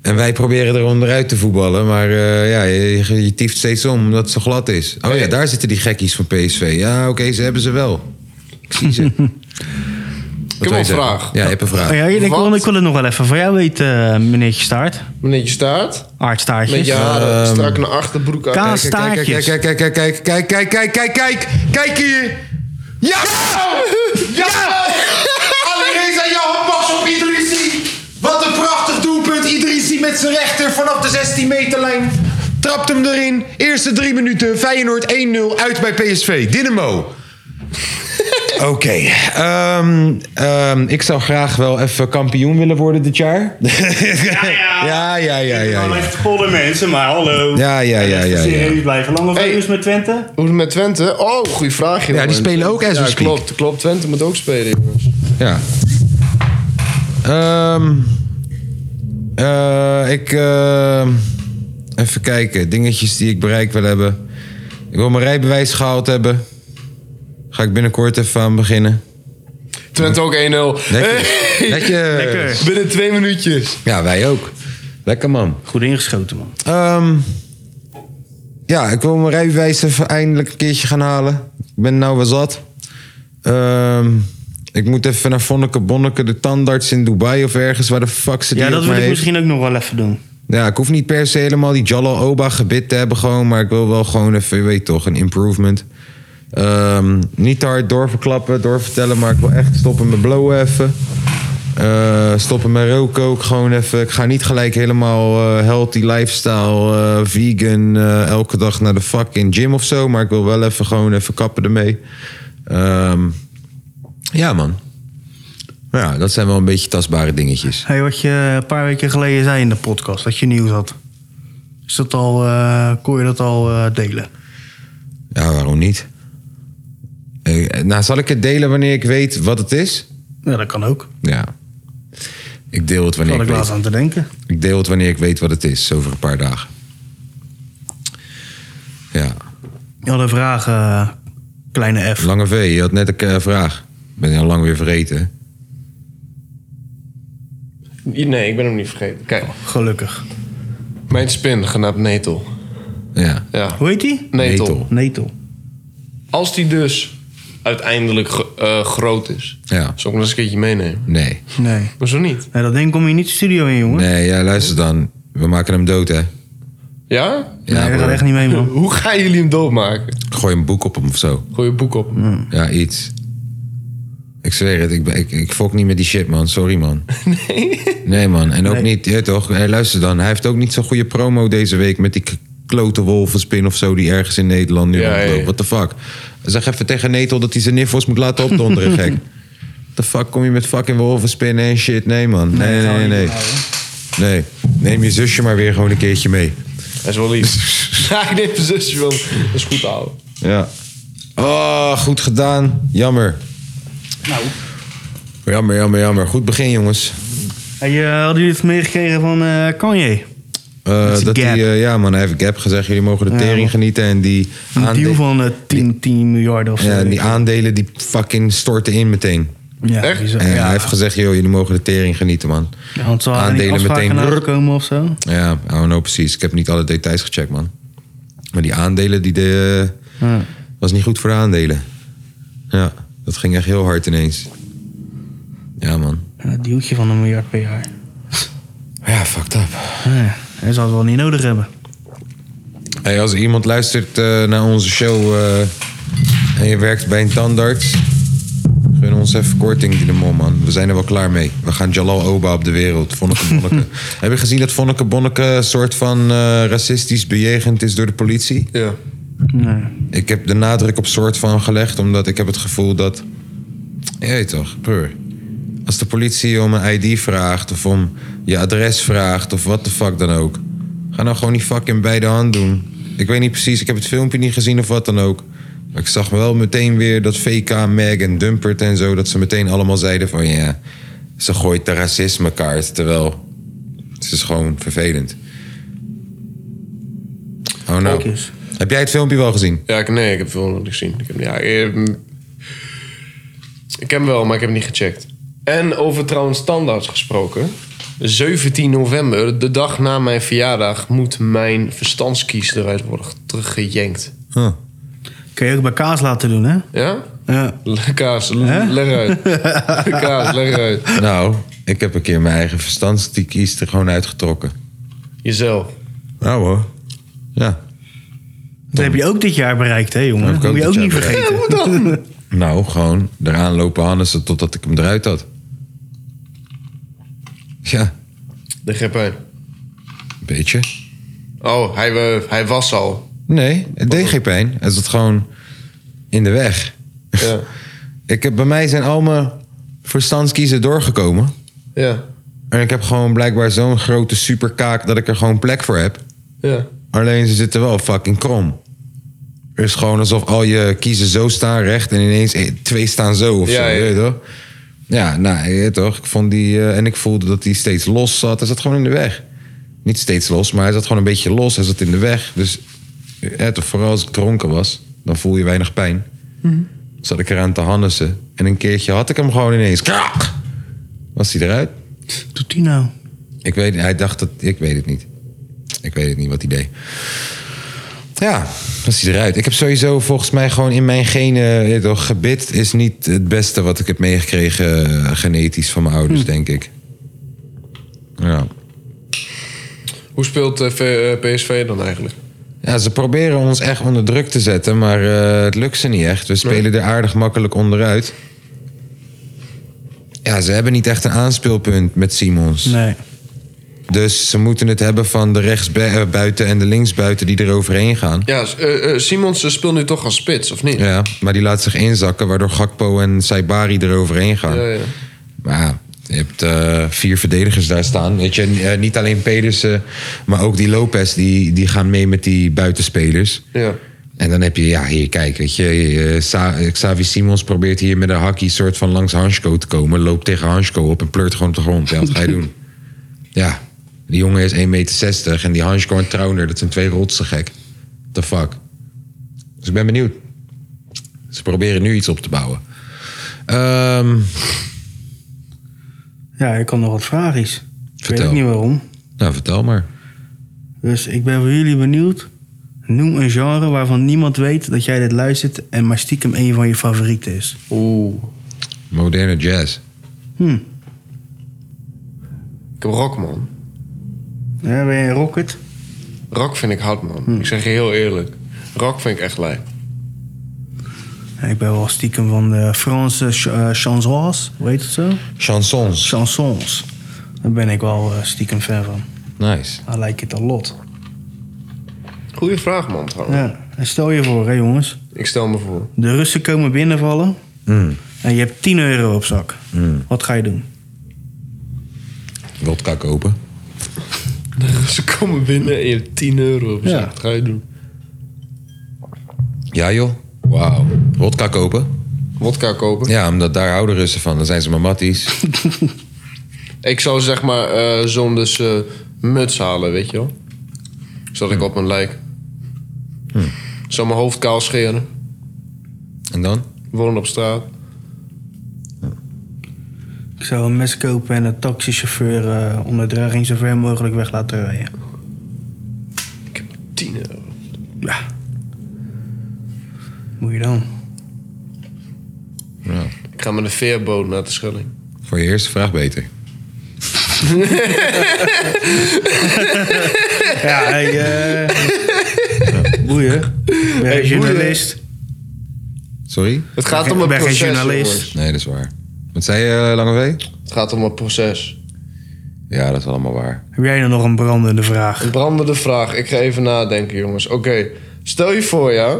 En wij proberen er onderuit te voetballen. Maar eh, ja, je, je- je tieft steeds om omdat het zo glad is. Oh ja, daar zitten die gekkies van PSV. Ja, oké, ze hebben ze wel. Ik zie ze.
heb
wil je
een
zeggen?
vraag.
Ja, je hebt een vraag.
oh ja, ik, wil,
Wat?
ik wil het nog wel even van jou weten, eh, meneertje Staart.
Meneer Staart, met
Aardstaartjes. Eh,
je haren
ehm,
strak naar achterbroek uit.
Kaas.
Kijk, kijk, kijk, kijk, kijk, kijk, kijk, kijk, kijk, kijk, kijk, kijk, kijk hier. Ja! Ja! Allereerst aan Johan Bas op Idrissi. Wat een prachtig doelpunt. Idrissi met zijn rechter vanaf de 16 meterlijn. Trapt hem erin. Eerste drie minuten. Feyenoord 1-0 uit bij PSV. Dynamo. Oké. ehm, ehm, ik zou graag wel even kampioen willen worden dit jaar. Ja, ja, ja, ja. ja,
Dan Nou, echt polder mensen, maar hallo.
Ja, ja, ja, ja,
Serieus
ja.
blijven. Lang of
Hey.
is met Twente?
Hoe is het met Twente? Oh, goede vraag. jongen.
Ja, die spelen ook as we
ja,
speak.
klopt, klopt. Twente moet ook spelen, jongens.
Ja. Ehm, eh, ik. ehm, even kijken. Dingetjes die ik bereik wil hebben. Ik wil mijn rijbewijs gehaald hebben. Ga ik binnenkort even aan beginnen.
Twente ook 1-0.
Lekker.
Hey.
Lekker.
Binnen twee minuutjes.
Ja, wij ook. Lekker man.
Goed ingeschoten, man.
Ehm, ja, ik wil mijn rijbewijs even eindelijk een keertje gaan halen. Ik ben nou wel zat. Ehm, ik moet even naar Vonneke Bonneke, de tandarts in Dubai of ergens waar de fuck ze die
Ja, dat
op
wil
mij
ik
heeft.
misschien ook nog wel even doen.
Ja, ik hoef niet per se helemaal die Jalal Oba gebit te hebben gewoon. Maar ik wil wel gewoon even, je weet toch, een improvement. Ehm, niet te hard doorverklappen, doorvertellen. Maar ik wil echt stoppen met blowen even. Eh, stoppen met roken ook gewoon even. Ik ga niet gelijk helemaal eh, healthy lifestyle, eh, vegan, eh, elke dag naar de fucking gym of zo. Maar ik wil wel even gewoon even kappen ermee. Ehm, ja man. Ja, dat zijn wel een beetje tastbare dingetjes.
Hey, wat je een paar weken geleden zei in de podcast, dat je nieuws had. Is dat al, eh, kon je dat al eh, delen?
Ja, waarom niet? Eh, nou, zal ik het delen wanneer ik weet wat het is?
Ja, dat kan ook.
Ja. Ik deel het
Daar had
wanneer ik
ik
weet.
laatst aan te denken.
Ik deel het wanneer ik weet wat het is, over een paar dagen. Ja.
Je had een vraag, eh, kleine F.
Lange V, je had net een eh, vraag. Ik ben je al lang weer vergeten.
Nee, ik ben hem niet vergeten. Kijk,
Gelukkig.
mijn spin, genaamd Netel.
Ja.
Ja,
Hoe heet die?
Netel.
Netel.
Netel.
Als die dus uiteindelijk ge- eh, groot is,
Ja.
zal ik hem eens een keertje meenemen.
Nee.
Nee.
Maar zo niet.
Nee, dat ding kom je niet de studio in, jongen.
Nee, ja, luister dan. We maken hem dood, hè?
Ja?
Nee, dat
bro.
gaat echt niet mee, man.
Hoe gaan jullie hem doodmaken?
Gooi een boek op hem of zo.
Gooi je boek op.
Ja, iets. Ik zweer het, ik, ben- ik, ik fok niet met die shit, man. Sorry, man. Nee? man. En ook niet, je weet toch? Hey, luister dan, hij heeft ook niet zo'n goede promo deze week met die k- klote wolvenspin of zo die ergens in Nederland nu
Ja,
rondloopt.
ja.
What the fuck? Zeg even tegen Netel dat hij zijn niffels moet laten opdonderen, gek. The fuck kom je met fucking wolvenspinnen en shit? Nee, man. Nee, nee, nee. Nee. nee. Neem je zusje maar weer gewoon een keertje mee.
Dat is wel lief. ja, ik neem mijn zusje wel. Dat is goed, ouwe.
Ja. Oh, goed gedaan. Jammer.
Nou.
Jammer, jammer, jammer. Goed begin, jongens.
Hey, eh, hadden jullie het meegekregen van eh, Kanye?
Eh,
Met zijn
dat die,
gap.
eh, ja man, hij heeft gap gezegd. Jullie mogen de
Ja,
tering
man.
genieten. En die,
Een
aande-
deal van eh, 10, 10 miljard of zo.
ja,
weet
die
ik.
aandelen die fucking storten in meteen.
ja,
Echt?
bizar.
En
Ja.
hij heeft gezegd, joh, jullie mogen de tering genieten man.
Ja, want ze hadden
aandelen
niet afspraken
meteen-
nagekomen of zo.
Ja, oh no, precies. Ik heb niet alle details gecheckt man. Maar die aandelen, die de, eh,
Ja.
was niet goed voor de aandelen. Ja, dat ging echt heel hard ineens. Ja man.
Ja, Een dealtje van een miljard per jaar.
Ja, fucked up.
Ja, hij zal het wel niet nodig hebben.
Hey, als iemand luistert eh, naar onze show eh, en je werkt bij een tandarts, gun ons even korting die de mol, man. We zijn er wel klaar mee. We gaan Jalal Oba op de wereld. Vonneke Bonneke. Heb je gezien dat Vonneke Bonneke een soort van eh, racistisch bejegend is door de politie?
Ja.
Nee.
Ik heb de nadruk op soort van gelegd, omdat ik heb het gevoel dat... Je weet toch, broer. Als de politie om een ID vraagt, of om je adres vraagt, of wat de fuck dan ook. Ga nou gewoon die fucking bij de hand doen. Ik weet niet precies, ik heb het filmpje niet gezien of wat dan ook. Maar ik zag wel meteen weer dat VK, Meg en Dumpert en zo... dat ze meteen allemaal zeiden van ja, ze gooit de racismekaart. Terwijl, het is gewoon vervelend. Oh nou,
Kijkers.
heb jij het filmpje wel gezien?
Ja, ik, nee, ik heb veel nog niet gezien. Ik heb, ja, ik, ik heb hem wel, maar ik heb hem niet gecheckt. En over trouwens standaards gesproken. 17 november, de dag na mijn verjaardag, moet mijn verstandskies eruit worden ge- teruggejenkt.
Huh.
Kun je ook bij kaas laten doen, hè?
Ja?
Ja.
Le- Kaas, l- leg eruit. Kaas, leg eruit.
Nou, ik heb een keer mijn eigen verstandskies er gewoon uitgetrokken.
Jezelf.
Nou hoor. Ja.
Dat heb je ook dit jaar bereikt, hè, jongen?
Dat heb
Dat
ik
moet
ook
je ook
dit
niet
jaar
vergeten.
Nou, gewoon eraan lopen hannessen totdat ik hem eruit had. Ja,
De GP.
een beetje.
Oh, hij, eh, hij was al.
Nee, het deed geen pijn. Het zat gewoon in de weg.
Ja.
Ik heb, bij mij zijn al mijn verstandskiezen doorgekomen.
Ja.
En ik heb gewoon blijkbaar zo'n grote superkaak dat ik er gewoon plek voor heb.
Ja.
Alleen ze zitten wel fucking krom. Het is gewoon alsof al je kiezen zo staan recht en ineens eh, twee staan zo of
Ja,
zo.
ja.
je weet toch? Ja, nou, je weet toch? Ik vond die, eh, en ik voelde dat hij steeds los zat. Hij zat gewoon in de weg. Niet steeds los, maar hij zat gewoon een beetje los. Hij zat in de weg. Dus eh, toch, vooral als ik dronken was, dan voel je weinig pijn. Zat ik eraan te hannessen. En een keertje had ik hem gewoon ineens. Krak! Was hij eruit?
Doet die nou?
Ik weet, hij dacht dat. Ik weet het niet. Ik weet het niet wat hij deed. Ja, was hij eruit. Ik heb sowieso volgens mij gewoon in mijn genen. je weet toch, Gebit is niet het beste wat ik heb meegekregen. eh, genetisch van mijn ouders, denk ik. Ja.
Hoe speelt eh, V- eh, PSV dan eigenlijk?
ja, ze proberen ons echt onder druk te zetten. Maar eh, het lukt ze niet echt. We spelen er aardig makkelijk onderuit. Ja, ze hebben niet echt een aanspeelpunt met Simons.
Nee.
Dus ze moeten het hebben van de rechtsbuiten en de linksbuiten die er overheen gaan.
Ja, s- eh, eh, Simons eh, speelt nu toch als spits, of niet?
Ja, maar die laat zich inzakken, waardoor Gakpo en Saibari er overheen gaan.
Ja, ja.
Maar ja, je hebt eh, vier verdedigers daar staan. Weet je, eh, niet alleen Pedersen, maar ook die Lopez, die, die gaan mee met die buitenspelers.
Ja.
En dan heb je, ja, hier, kijk, weet je, eh, Sa- eh, Xavi Simons probeert hier met een hakkie soort van langs Hansko te komen. Loopt tegen Hansko op en pleurt gewoon op de grond. Ja, wat ga je doen? Ja, die jongen is 1,60 meter en die Hansko en Trauner, dat zijn twee rotsen gek. The fuck. Dus ik ben benieuwd. Ze proberen nu iets op te bouwen. Ehm,
Ja, ik kan nog wat vraagjes. Ik weet
Vertel.
ook niet waarom.
nou, vertel maar.
Dus ik ben voor jullie benieuwd. Noem een genre waarvan niemand weet dat jij dit luistert en maar stiekem een van je favorieten is.
Oeh.
Moderne jazz.
Hm.
Ik heb rock, man.
Ja, ben je een rocket?
Rock vind ik hard, man.
Hmm.
Ik zeg je heel eerlijk. Rock vind ik echt lijp.
Ja, ik ben wel stiekem van de Franse ch- eh, chansons, hoe heet het zo?
Chansons.
Chansons. Daar ben ik wel eh, stiekem fan van.
Nice.
I like it a lot.
Goeie vraag, man. trouwens.
Ja. En stel je voor, hè jongens.
Ik stel me voor.
De Russen komen binnenvallen. En je hebt 10 euro op zak. Wat ga je doen?
Wodka kopen.
Ze komen binnen en je hebt 10 euro op zak. Wat ga je doen?
Ja joh. Wauw. Wodka kopen?
Wodka kopen.
Ja, omdat daar houden Russen van. Dan zijn ze maar matties.
Ik zou zeg maar eh, zo'n dus eh, muts halen, weet je wel. Zodat
Hmm.
ik op mijn lijk. Zou mijn hoofd kaal scheren.
En dan?
Woon op straat.
Ik zou een mes kopen en een taxichauffeur eh onder dreiging zo ver mogelijk weg laten rijden.
10 euro.
Ja. Moet je dan?
Ik ga met een veerboot naar de Schelling.
Voor je eerste vraag beter.
Ja, hey, eh, boeien. Ik ben
Hey,
geen journalist.
Sorry?
Het gaat
Ik
om een
ben geen
proces,
journalist.
jongens.
Nee, dat is waar. eh, Wat zei je, Lange V?
Het gaat om een proces.
Ja, dat is allemaal waar.
Heb jij dan nog een brandende vraag?
Een brandende vraag. Ik ga even nadenken, jongens. Oké, stel je voor, ja...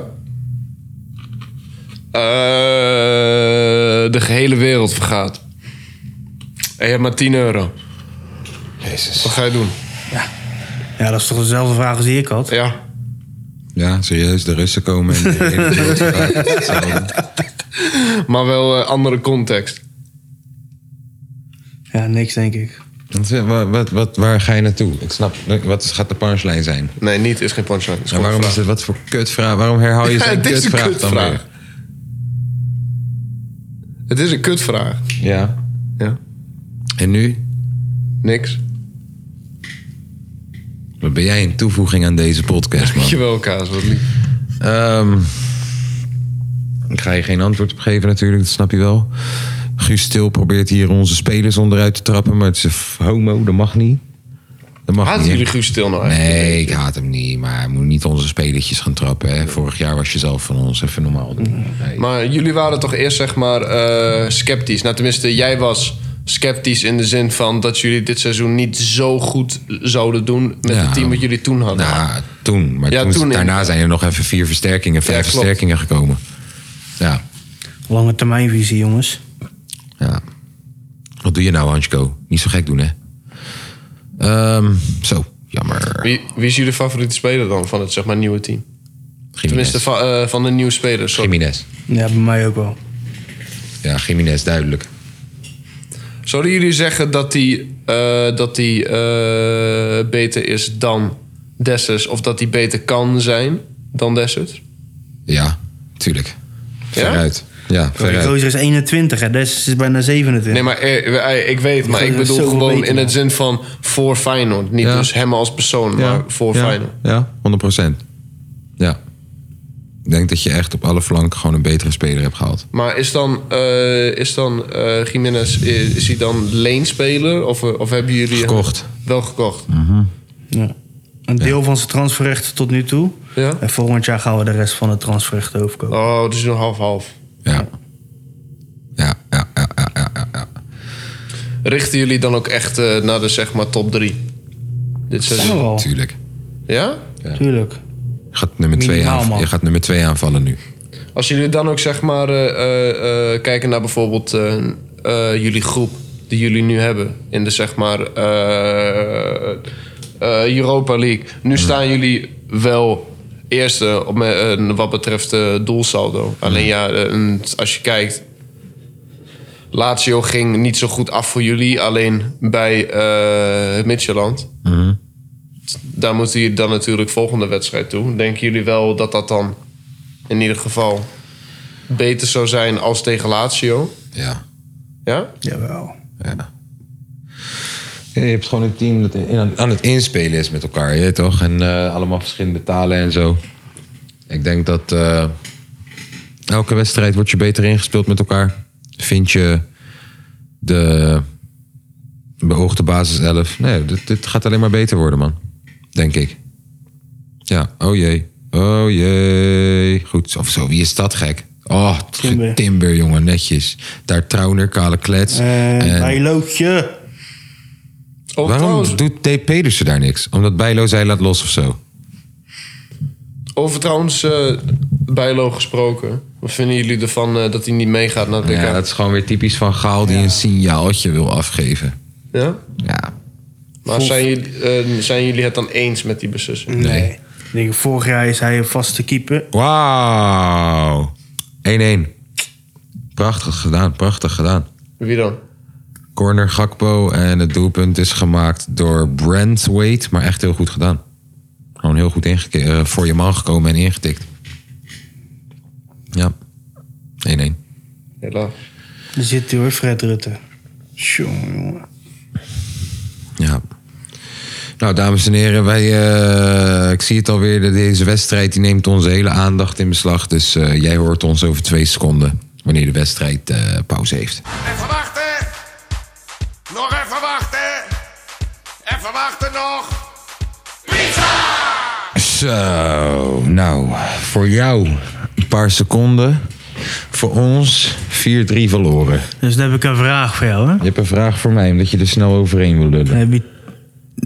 Eh, de gehele wereld vergaat. En je hebt maar 10 euro.
Jezus.
Wat ga je doen?
Ja, dat is toch dezelfde vraag als die ik had?
Ja,
Ja, serieus, de Russen komen en de hele wereld gaat hetzelfde.
maar wel eh, andere context.
Ja, niks denk ik.
Wat- wat, wat, wat, waar ga je naartoe? Ik snap, wat is- gaat de punchline zijn?
Nee, niet is geen punchline. Is
En waarom is
het?
het wat voor kutvraag? Waarom herhaal je
Ja,
zijn
het is een
kutvraag, dan
kutvraag.
weer?
Het is een kutvraag.
Ja.
Ja.
En nu?
Niks.
Wat ben jij een toevoeging aan deze podcast, man?
Dankjewel, Kaas. Wat lief.
Ehm, ik ga je geen antwoord op geven natuurlijk, dat snap je wel. Guus Stil probeert hier onze spelers onderuit te trappen, maar het is een f- homo, dat mag niet. Dat mag
Haat
niet. hè?
jullie Guus stil nou eigenlijk?
Nee, ik haat hem niet, maar hij moet niet onze spelertjes gaan trappen. Hè. Vorig jaar was je zelf van ons, even normaal
Mm.
doen. Nee.
Maar jullie waren toch eerst zeg maar eh, sceptisch. Nou, tenminste, jij was sceptisch in de zin van dat jullie dit seizoen niet zo goed zouden doen met
Ja.
het team wat jullie toen hadden.
Nou, toen. Maar
Ja,
toen,
toen
daarna
in-
zijn er nog even vier versterkingen, vijf
klopt.
versterkingen gekomen. Ja,
Lange termijnvisie, jongens.
ja. Wat doe je nou, Hansko? Niet zo gek doen, hè? Ehm, zo, jammer.
Wie, wie is jullie favoriete speler dan van het zeg maar nieuwe team?
Jiménez.
Tenminste, van, eh, van de nieuwe spelers. Sorry.
Jiménez.
Ja, bij mij ook wel.
Ja, Jiménez, duidelijk.
Zouden jullie zeggen dat die, eh, dat die eh, beter is dan Dessers? Of dat die beter kan zijn dan Dessers?
Ja, tuurlijk.
Ja?
Veruit. Ja,
Die
veruit.
gozer is 21, hè? Des is bijna 27.
Nee, maar eh, eh, ik weet, maar
Ja,
ik
dat is
bedoel
zoveel
gewoon
beter,
in
man.
het zin van voor Feyenoord. Niet
Ja.
dus hem als persoon, maar voor
ja,
Feyenoord.
Ja, 100%. Ja. Ik denk dat je echt op alle flanken gewoon een betere speler hebt gehaald.
Maar is dan, eh is dan eh Jiménez, is, is hij dan leenspeler? Of, eh, of hebben jullie hem
Gekocht.
wel gekocht?
Ja. Een deel van zijn transferrechten tot nu toe.
Ja?
En volgend jaar gaan we de rest van de transferrechten overkopen.
Oh, dus nog half-half.
Ja. Ja, ja, ja, ja, ja, ja, ja.
Richten jullie dan ook echt eh, naar de zeg maar top 3? Dit
Kan
seizoen.
wel,
Tuurlijk.
Ja?
tuurlijk.
Je gaat nummer twee
Minimaal,
aan,
man.
je gaat nummer twee aanvallen nu.
Als jullie dan ook zeg maar eh, eh, eh, kijken naar bijvoorbeeld eh, eh, jullie groep die jullie nu hebben in de zeg maar eh, eh, Europa League. Nu staan jullie wel eerste op, me- eh, wat betreft eh, doelsaldo. Alleen ja, eh, een- als je kijkt. Lazio ging niet zo goed af voor jullie, alleen bij eh het Midtjylland. Daar moeten jullie dan natuurlijk volgende wedstrijd toe. Denken jullie wel dat dat dan in ieder geval beter zou zijn als tegen Lazio.
Ja.
Ja?
Jawel.
ja. Ja, Eh, Je hebt gewoon een team dat in- aan- aan het inspelen is met elkaar, je weet toch? En eh, allemaal verschillende talen en zo. Ik denk dat eh, elke wedstrijd wordt je beter ingespeeld met elkaar. Vind je de beoogde basis 11. Nee, dit, dit gaat alleen maar beter worden, man. Denk ik. Ja, oh jee. Oh jee. Goed, of zo. Wie is dat gek? Oh, Timber,
Timber.
jongen, netjes. Daar Trouwner, Kale Klets.
Eh,
en-
Bijlootje.
Oh,
Waarom
trouwens,
doet D. Pedersen daar niks? Omdat Bijlo zij laat los of zo.
Over trouwens eh Bijlo gesproken. Wat vinden jullie ervan eh, dat hij niet meegaat naar het
Ja,
WK?
dat is gewoon weer typisch van Gaal die een signaaltje wil afgeven.
Ja?
Ja,
Maar zijn jullie, eh, zijn jullie het dan eens met die beslissing?
Nee. Ik denk, vorig jaar is hij een vaste keeper.
Wauw. 1-1. Prachtig gedaan, prachtig gedaan.
Wie dan?
Corner Gakpo en het doelpunt is gemaakt door Brent Wade, maar echt heel goed gedaan. Gewoon heel goed ingeke- eh, voor je man gekomen en ingetikt. Ja, 1-1.
Helaas.
Daar zit hij hoor, Fred Rutte. Tjonge, jongen.
Ja. Nou, dames en heren, wij, eh, ik zie het alweer. de- Deze wedstrijd die neemt onze hele aandacht in beslag. Dus eh, jij hoort ons over twee seconden wanneer de wedstrijd eh, pauze heeft.
Even wachten. Nog even wachten. Even wachten nog.
Zo, nou, voor jou een paar seconden. Voor ons 4-3 verloren.
Dus dan heb ik een vraag voor jou. Hè?
Je hebt een vraag voor mij, omdat je er snel overheen wil lullen.
Heb je...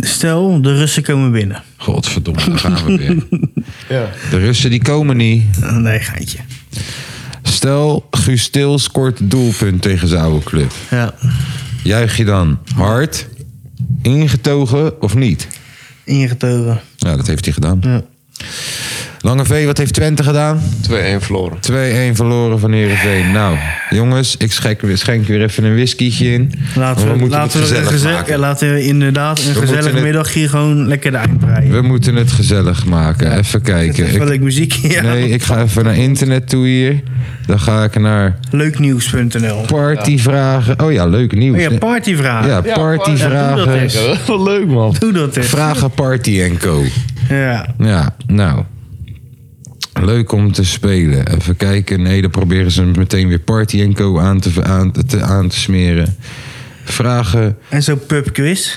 Stel, de Russen komen binnen.
Godverdomme, daar gaan we weer.
Ja.
De Russen die komen niet.
Nee, geintje.
Stel, Guus Til scoort een doelpunt tegen zijn oude club.
Ja,
Juich je dan hard, ingetogen of niet?
ingetogen.
Nou, dat heeft hij gedaan.
Ja.
Lange V, wat heeft Twente gedaan?
2-1 verloren.
2-1 verloren van Heerenveen. Nou, jongens, ik schenk, schenk weer even een whiskietje in.
Laten
we,
we,
moeten
laten,
het
we een
gezellig
geze- ja,
maken.
laten we inderdaad een gezellige
moeten het-
middag hier gewoon lekker de eind breien.
We moeten het gezellig maken. Even kijken.
Wel
Ik,
leuk muziek. Ja.
nee, ik ga even naar internet toe hier. Dan ga ik naar
Leuknieuws.nl.
partyvragen. Oh ja, leuk nieuws.
Oh ja, partyvraag.
Ja,
Ja, doe dat eens.
partyvragen.
Wat leuk, man.
Doe dat eens.
Vragen party en co.
Ja.
Ja, nou. Leuk om te spelen. Even kijken. Nee, dan proberen ze meteen weer Party en Co. aan te, aan, te, aan te smeren. Vragen,
En zo'n pubquiz.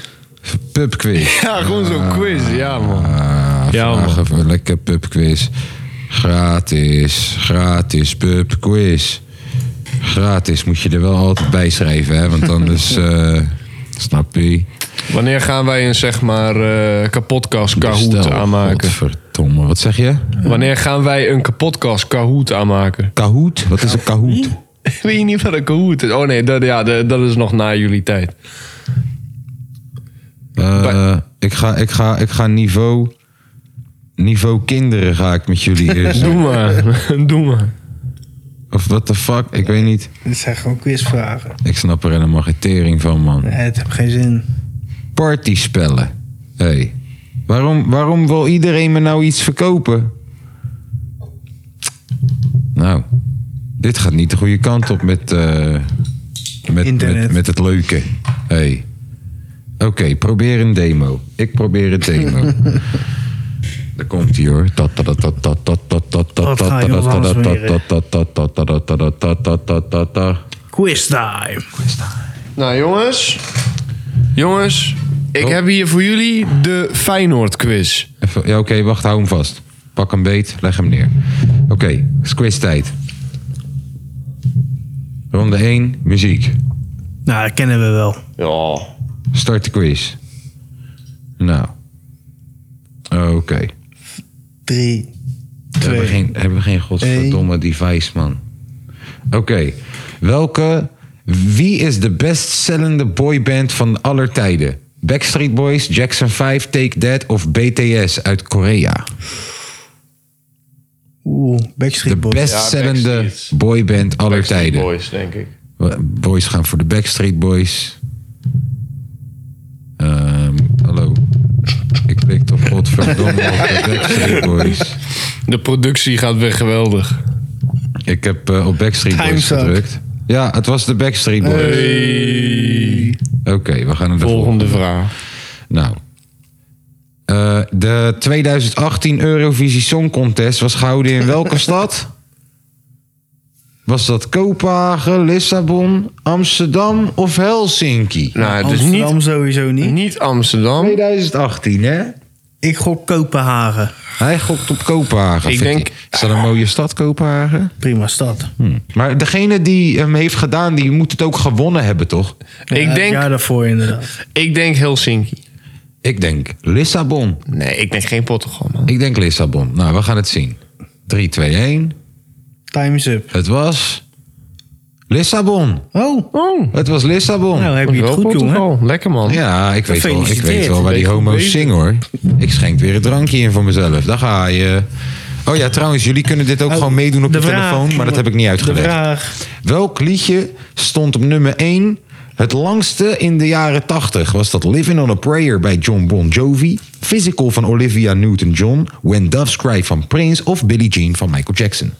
pubquiz.
Ja, gewoon zo'n quiz. Ja, man.
Ah,
Ja, man.
vragen voor lekker pubquiz. Gratis, gratis pubquiz. Gratis moet je er wel altijd bij schrijven, hè? Want anders, eh, snap je?
Wanneer gaan wij een, zeg maar, eh kapotkast Kahoot
Bestel.
aanmaken?
Godverdomme, wat zeg je?
Wanneer gaan wij een kapotkast Kahoot aanmaken?
Kahoot? Wat is een Kahoot?
Weet je niet wat een Kahoot is? Oh nee, dat, ja, dat, dat is nog na jullie tijd.
Eh,
Bij-
ik, ga, ik, ga, ik ga niveau. Niveau kinderen ga ik met jullie eerst.
Doe maar. Doe maar.
of what the fuck, ik weet niet.
Dat zijn gewoon quizvragen.
Ik snap er helemaal geen tering van, man.
Nee, het heeft geen zin.
Partyspellen. Hé. Hey. Waarom, waarom wil iedereen me nou iets verkopen? Nou, dit gaat niet de goede kant op met. eh, met,
Internet.
met, met het leuke. Hé. Hey. Oké, probeer een demo. Ik probeer een demo. Daar komt hij hoor.
Wat ga je ons aansmeren? Quiz time.
Nou jongens. Oh. Jongens. Ik heb hier voor jullie de Feyenoord quiz.
Even- Ja, oké, wacht, hou hem vast. Pak hem beet, leg hem neer. Oké, squiz tijd. Ronde 1, muziek.
Nou, dat kennen we wel.
Ja.
Start de quiz. Nou. Oké.
3,
We hebben geen, hebben we geen godverdomme device, man. Oké. Welke... Wie is de bestsellende boyband van aller tijden? Backstreet Boys, Jackson 5, Take That of BTS uit Korea?
Oeh,
De
Backstreet Boys.
Ja,
bestzellende
Backstreet.
boyband aller tijden.
Boys, denk ik.
We- Boys gaan voor de Backstreet Boys. Ehm, hallo. Ik klik op godverdomme op de Backstreet Boys.
De productie gaat weer geweldig.
Ik heb eh, op Backstreet Boys
Time's up.
gedrukt. Ja, het was de Backstreet Boys. Oké, we gaan naar de volgende.
Volgende vraag.
Nou. Eh, de 2018 Eurovisie Song Contest was gehouden in welke stad? Was dat Kopenhagen, Lissabon, Amsterdam of Helsinki?
Nou, het is
Amsterdam
niet,
sowieso niet.
niet Amsterdam.
2018, hè?
Ik gok Kopenhagen.
Hij gokt op Kopenhagen.
Ik
vindt
denk-
hij. Is dat een mooie stad, Kopenhagen?
Prima stad.
Maar degene die hem heeft gedaan, die moet het ook gewonnen hebben, toch?
Ik
Ja, het
denk,
jaar daarvoor inderdaad.
ik denk Helsinki.
Ik denk Lissabon.
Nee, ik denk geen Portugal, man.
Ik denk Lissabon. Nou, we gaan het zien. 3, 2, 1.
Time's up.
Het was Lissabon.
Oh,
Oh,
Het was Lissabon.
nou heb je het
wel
goed, jongen.
Portugal. Lekker, man.
Ja, ik weet, wel, ik weet
Gefeliciteerd.
wel waar die
Ben je goed
homo's
bezig?
zingen hoor. Ik schenk weer een drankje in voor mezelf. Daar ga je. Oh ja, trouwens, jullie kunnen dit ook
Oh,
gewoon meedoen op
de
je
vraag,
telefoon, maar dat heb ik niet
De
uitgelegd.
vraag.
Welk liedje stond op nummer 1 het langste in de jaren 80? Was dat Living on a Prayer bij John Bon Jovi, Physical van Olivia Newton-John, When Doves Cry van Prince of Billie Jean van Michael Jackson?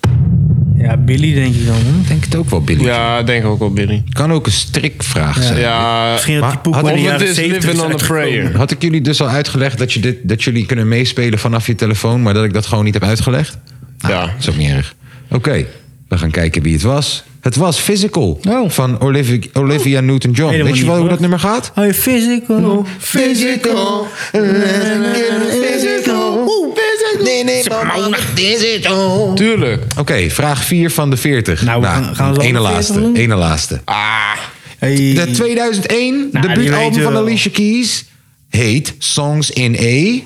Ja, Billy denk ik dan. hoor.
Hm, Ik denk het ook wel Billie Jean.
Ja, denk ook wel, Billy.
Kan ook een strikvraag zijn.
Ja,
Misschien dat
Maar
die poep
had-
wel in
of
de
het
jaren
is
70
Living
is
on a
uitgekomen.
Prayer.
Had ik jullie dus al uitgelegd dat, je dit, dat jullie kunnen meespelen vanaf je telefoon, maar dat ik dat gewoon niet heb uitgelegd? Nou,
Ja.
Dat is ook niet erg. Oké, we gaan kijken wie het was. Het was Physical
Oh.
van Olivia, Olivia Newton-John.
Helemaal
Weet je wel
niet
hoe dat
goed.
nummer gaat?
Oh, je physical.
Physical. Physical. Nee, nee, physical.
Tuurlijk.
Oké, vraag 4 van de 40.
Nou, we gaan- gaan we
ene
wel
laatste.
40 doen?
Ene laatste.
Hey.
De 2001
Nou, die
debuutalbum
weten we
van
wel.
Alicia Keys heet Songs in A.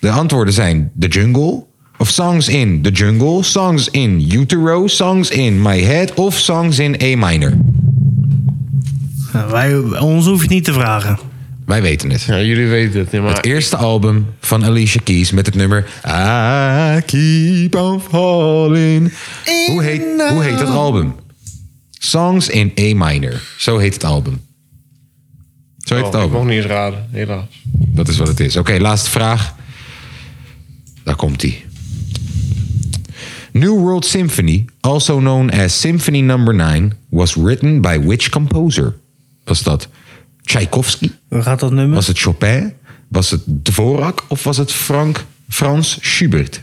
De antwoorden zijn The Jungle. Of Songs in The Jungle, Songs in Utero, Songs in My Head of Songs in A minor.
Nou, wij, ons hoef je het niet te vragen.
Wij weten het.
Ja, jullie weten het niet, maar...
Het eerste album van Alicia Keys met het nummer I Keep On Falling. Hoe heet, hoe heet dat album? Songs in A minor. Zo heet het album. Zo heet het
Oh, ik
album.
mocht niet eens raden, helaas.
Dat is wat het is. Oké, laatste vraag. Daar komt hij. New World Symphony, also known as Symphony Number 9, was written by which composer? Was dat Tchaikovsky?
Waar gaat dat nummer?
Was het Chopin? Was het Dvorak? Of was het Frank Frans Schubert?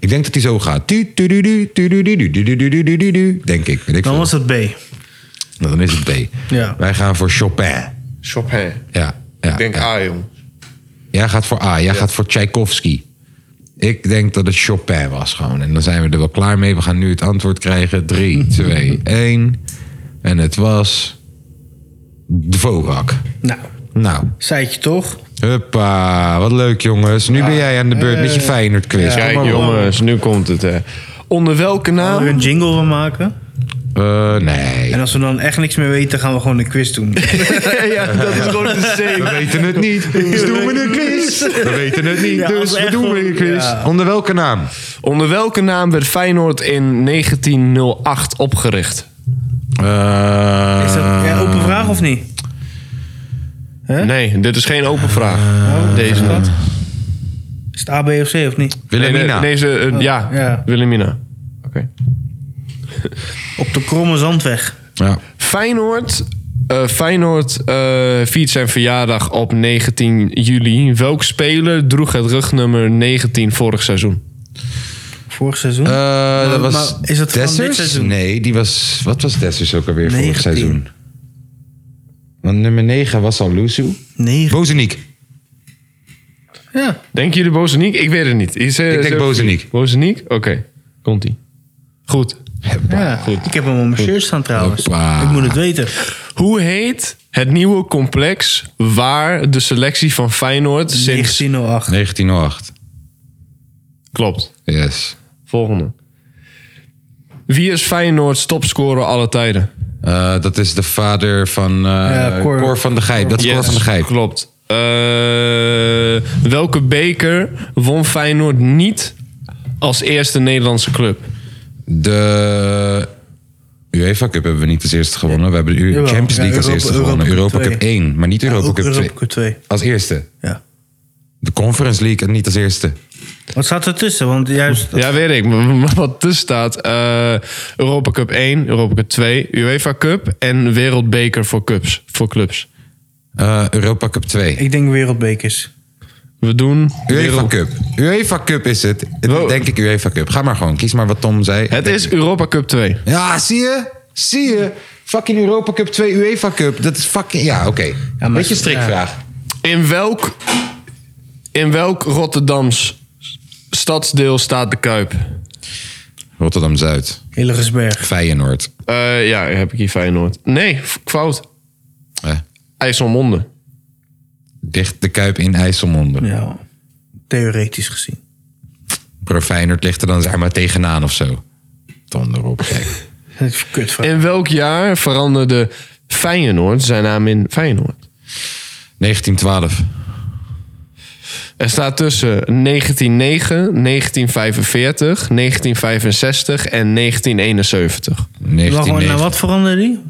Ik denk dat hij zo gaat. Tu, tu, du, du, tu, du, du, du, du, du, du, du, du, du, du. Denk ik. Weet ik
Dan
veel.
was het B.
Nou, dan is het B.
Ja.
Wij gaan voor Chopin.
Chopin.
Ja, ja,
ik denk
ja.
A, jong.
Jij gaat voor A, jij gaat voor Tchaikovsky. Ik denk dat het Chopin was gewoon. En dan zijn we er wel klaar mee. We gaan nu het antwoord krijgen. 3, 2, 1. En het was. Dvorak.
Nou,
Nou,
zei het je toch?
huppa. Wat leuk jongens. Nu ben jij aan de beurt
Eh,
met je Feyenoord quiz. Kom
Kijk,
maar op.
jongens, dus nu komt het, hè. Onder
Gaan
welke
we er
naam...
een jingle van maken?
Eh, nee.
En als we dan echt niks meer weten, gaan we gewoon een quiz doen.
ja, dat is gewoon de
We
zee.
weten het niet. Dus doen we een quiz. We weten het niet.
Ja, als
Dus
we
we
echt
doen we een
gewoon-
quiz.
Ja.
Onder welke naam?
Onder welke naam werd Feyenoord in 1908 opgericht?
Eh,
Is dat een open vraag of niet?
Nee, dit is geen open
Ah.
vraag.
Oh,
Deze niet.
Is het A, B of C of niet?
Wilhelmina.
Nee, Deze,
Oh,
eh, ja,
ja.
Wilhelmina. Oké.
Op de Kromme Zandweg.
Ja.
Feyenoord, eh, Feyenoord eh, viert zijn verjaardag op 19 juli. Welk speler droeg het rugnummer 19 vorig seizoen?
Vorig seizoen.
Eh, dat
maar
was
is dat van dit
Dessers?
seizoen?
Nee, die was... Wat was Dessers ook alweer vorig
19.
seizoen? Want nummer 9 was al Luzu.
nee.
Bozeniek.
Ja.
Denken jullie Bozeniek? Ik weet het niet. Is, eh,
Ik
is
denk
er-
Bozeniek.
Bozeniek? Oké, komt-ie. Goed.
ja. Ik heb hem op mijn shirt staan trouwens.
Hoppa.
Ik moet het weten.
Hoe heet het nieuwe complex waar de selectie van Feyenoord sinds...
1908.
1908.
Klopt.
Yes.
Volgende. Wie is Feyenoord's topscorer alle tijden?
Eh, dat is de vader van eh
Ja, Cor.
Cor. van de Gijp. Dat is Cor
Yes,
van de Gijp.
Klopt. Eh, welke beker won Feyenoord niet als eerste Nederlandse club?
De UEFA Cup hebben we niet als eerste gewonnen. We hebben de U-
Jawel.
Champions League
Ja,
als
Europa-
eerste
Europa
gewonnen.
Cup
Europa
twee.
Cup 1, maar niet Europa
ook
Cup 2.
Europa Cup 2.
Als eerste.
Ja.
De Conference League niet als eerste.
Wat staat er tussen? Want juist...
Ja, weet ik. Maar maar wat tussen staat. eh, Europa Cup 1, Europa Cup 2, UEFA Cup en Wereldbeker voor, cups, voor clubs.
Eh, Europa Cup 2.
Ik denk wereldbekers.
We doen...
UEFA
wereld-
Cup. UEFA Cup is het.
Wow.
Denk ik UEFA Cup. Ga maar gewoon. Kies maar wat Tom zei.
Het is Europa Cup 2.
Ja, zie je? Zie je? Fucking Europa Cup 2, UEFA Cup. Dat is fucking... Ja, oké.
maar-
Beetje strikvraag.
In welk, in welk Rotterdams stadsdeel staat de Kuip?
Rotterdam-Zuid.
Hillegersberg.
Feyenoord.
Eh, ja, heb ik hier Feyenoord. Nee, f- fout.
Eh,
IJsselmonde.
ligt de Kuip in IJsselmonde.
Ja, theoretisch gezien.
Pro Feyenoord ligt er dan zeg maar tegenaan of zo. Donder op, gek.
Dat is kut van.
In welk jaar veranderde Feyenoord zijn naam in Feyenoord?
1912.
Er staat tussen 1909, 1945, 1965 en 1971.
Wacht maar,
1990.
nou wat veranderde die?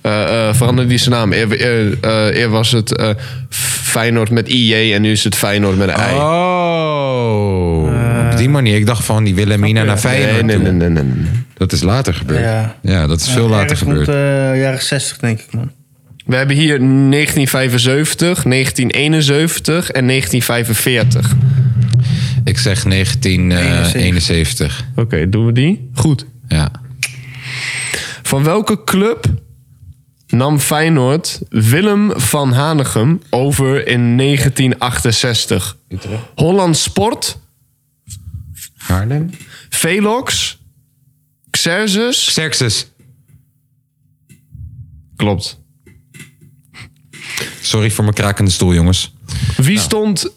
eh eh, veranderde die zijn naam. Eer, eer- eh, eer was het eh, Feyenoord met IJ en nu is het Feyenoord met een I.
Oh, op die manier. Ik dacht van die Wilhelmina naar
nee,
Feyenoord
nee,
toe.
nee, nee, nee, nee.
Dat is later gebeurd.
Ja.
Ja, dat is veel later
Ergens eh, rond
gebeurd.
de jaren 60 denk ik man.
We hebben hier 1975, 1971 en 1945.
Ik zeg eh, 1971.
Oké, doen we die? Goed.
Ja.
Van welke club nam Feyenoord Willem van Hanegem over in 1968? Holland Sport,
Haarlem?
Velox, Xerxes.
Xerxes.
Klopt.
Sorry voor mijn krakende stoel, jongens.
Wie stond,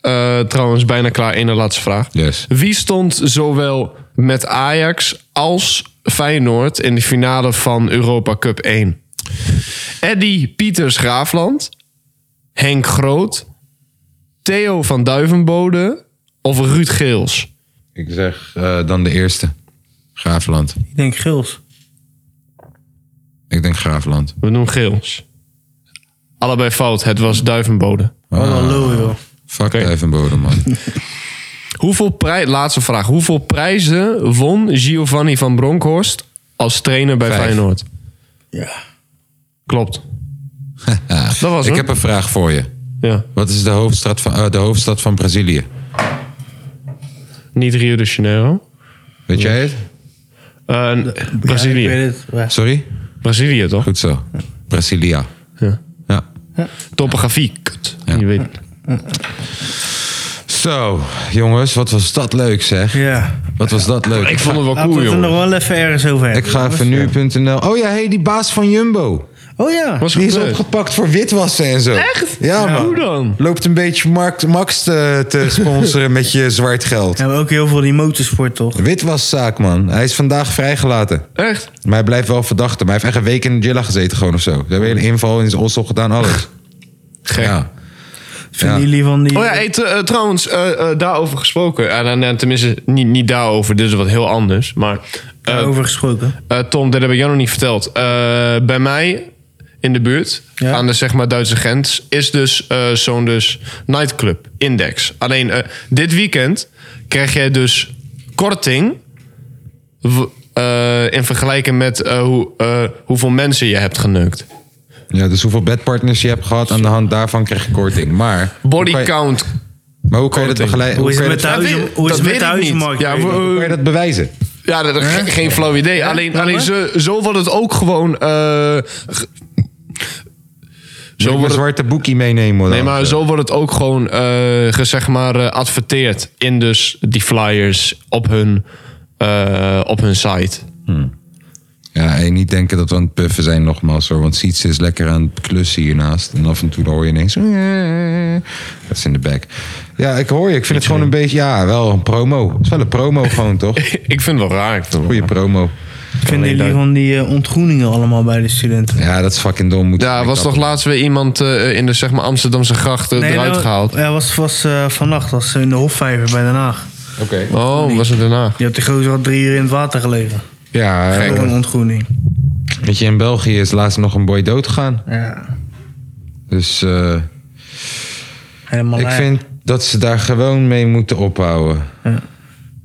eh, trouwens bijna klaar, ene laatste vraag.
Yes.
Wie stond zowel met Ajax als Feyenoord in de finale van Europa Cup 1? Eddy Pieters Graafland, Henk Groot, Theo van Duivenbode of Ruud Geels?
Ik zeg eh, dan de eerste. Graafland.
Ik denk Gils.
Ik denk Graafland.
We doen Geels. Allebei fout, het was Duivenbode.
Wat een lul joh.
Fuck Duivenbode, man.
Hoeveel prij laatste vraag. Hoeveel prijzen won Giovanni van Bronckhorst als trainer bij
Vijf.
Feyenoord?
Ja.
Klopt. Dat was
Ik
het.
heb een vraag voor je.
Ja,
Wat is de hoofdstad van, eh, de hoofdstad van Brazilië?
niet Rio de Janeiro.
Weet jij het?
Eh, n-
Ja,
Brazilië.
ik weet het. Ja.
Sorry?
Brazilië toch?
Goed zo. Brasilia.
Ja.
Ja.
Topografie. Kut.
Ja.
Je weet het.
Zo, jongens, wat was dat leuk zeg.
Ja.
Wat was dat leuk.
Ik vond het wel
Laten we
cool,
het er nog
jongen.
wel even ergens over
Ik
hebben.
ga even nu.nl. Oh ja, hey, die baas van Jumbo.
Oh ja.
Was
Die is
gebeurd.
opgepakt voor witwassen en zo. Echt? Ja,
Hoe
man.
dan?
Loopt een beetje Mark, Max te, te sponsoren met je zwart geld.
Ja, maar ook heel veel die motorsport toch?
Witwaszaak, man. Hij is vandaag vrijgelaten.
Echt?
Maar hij blijft wel verdachte. Maar hij heeft echt een week in de Jilla gezeten gewoon of zo. Ze hebben een hele inval in zijn ossel gedaan, alles.
Gek.
Ja.
Vinden
Ja.
jullie van die...
Oh ja, hey, t- eh, trouwens, eh, eh, daarover gesproken. Eh, nou, nou, tenminste, niet, niet daarover, dit is wat heel anders. Maar eh,
over gesproken.
Eh, Tom, dat heb ik jou nog niet verteld. Eh, bij mij in de buurt,
Ja.
aan de zeg maar Duitse grens, is dus eh, zo'n dus nightclub index. Alleen eh, dit weekend krijg jij dus korting w- eh, in vergelijking met eh, hoe, eh, hoeveel mensen je hebt geneukt.
ja, dus hoeveel bedpartners je hebt gehad, aan de hand daarvan krijg je korting. Maar... hoe kan
Body
je-
count.
Maar hoe kan je
Korting.
dat begeleiden?
Hoe is
kan
het
je
met de
dat-
weet-
huizen- hoe is
dat
het met
weet
de
ik niet.
huizenmarkt?
Ja, we-
hoe kan je dat bewijzen?
Ja, dat, ge- geen flauw idee. alleen alleen zo, zo wordt het ook gewoon. eh, ge-
Zo
zo
een
wordt het
zwarte boekie meenemen.
Nee, maar zo wordt het ook gewoon eh zeg maar, geadverteerd in dus die flyers op hun, eh, op hun site.
Ja, en niet denken dat we aan het puffen zijn nogmaals hoor. Want Sietse is lekker aan het klussen hiernaast. En af en toe hoor je ineens... Dat is in de back. Ja, ik hoor je. Ik vind het gewoon een beetje... Ja, wel een promo. Het is wel een promo gewoon, toch?
ik vind het wel raar. Ik vind het wel
Goeie
raar.
promo.
Vinden jullie van die eh, ontgroeningen allemaal bij de studenten?
Ja, dat is fucking dom. Moet
Ja, was toch laatst weer iemand eh, in de zeg maar, Amsterdamse grachten eruit
dat-
gehaald?
Ja, was, was nou, eh, vannacht was ze in de Hofvijver bij Den Haag.
Oké.
Oh, was het daarna?
Je hebt de gozer al drie uur in het water gelegen.
Ja,
Door
eh,
een ontgroening.
weet je, in België is laatst nog een boy doodgegaan.
Ja,
Dus eh,
helemaal
ik
lijp.
vind dat ze daar gewoon mee moeten ophouden.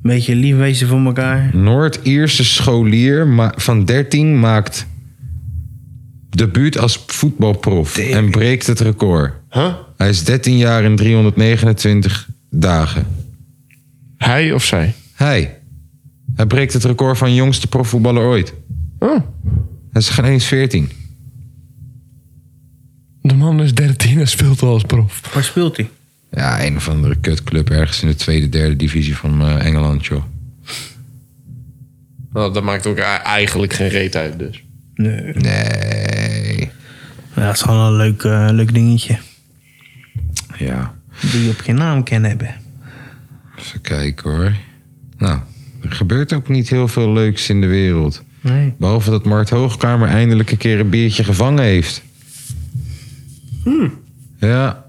Beetje lief wezen voor elkaar.
Noord-Ierse scholier ma- van 13 maakt debuut als voetbalprof en breekt het record.
Huh?
Hij is 13 jaar en 329 dagen.
Hij of zij?
Hij. Hij breekt het record van jongste profvoetballer ooit.
Oh,
Hij is geen eens 14.
de man is 13 en speelt al als prof.
Waar speelt hij?
Ja, een of andere kutclub ergens in de tweede, derde divisie van eh, Engeland, joh.
Nou, dat maakt ook e- eigenlijk geen reet uit dus.
Nee.
Nee.
Ja, het is gewoon een leuk, eh, leuk dingetje.
Ja,
die je op je naam kan hebben.
even kijken hoor. Nou, er gebeurt ook niet heel veel leuks in de wereld.
Nee.
Behalve dat Mart Hoogkamer eindelijk een keer een biertje gevangen heeft.
Hmm.
Ja,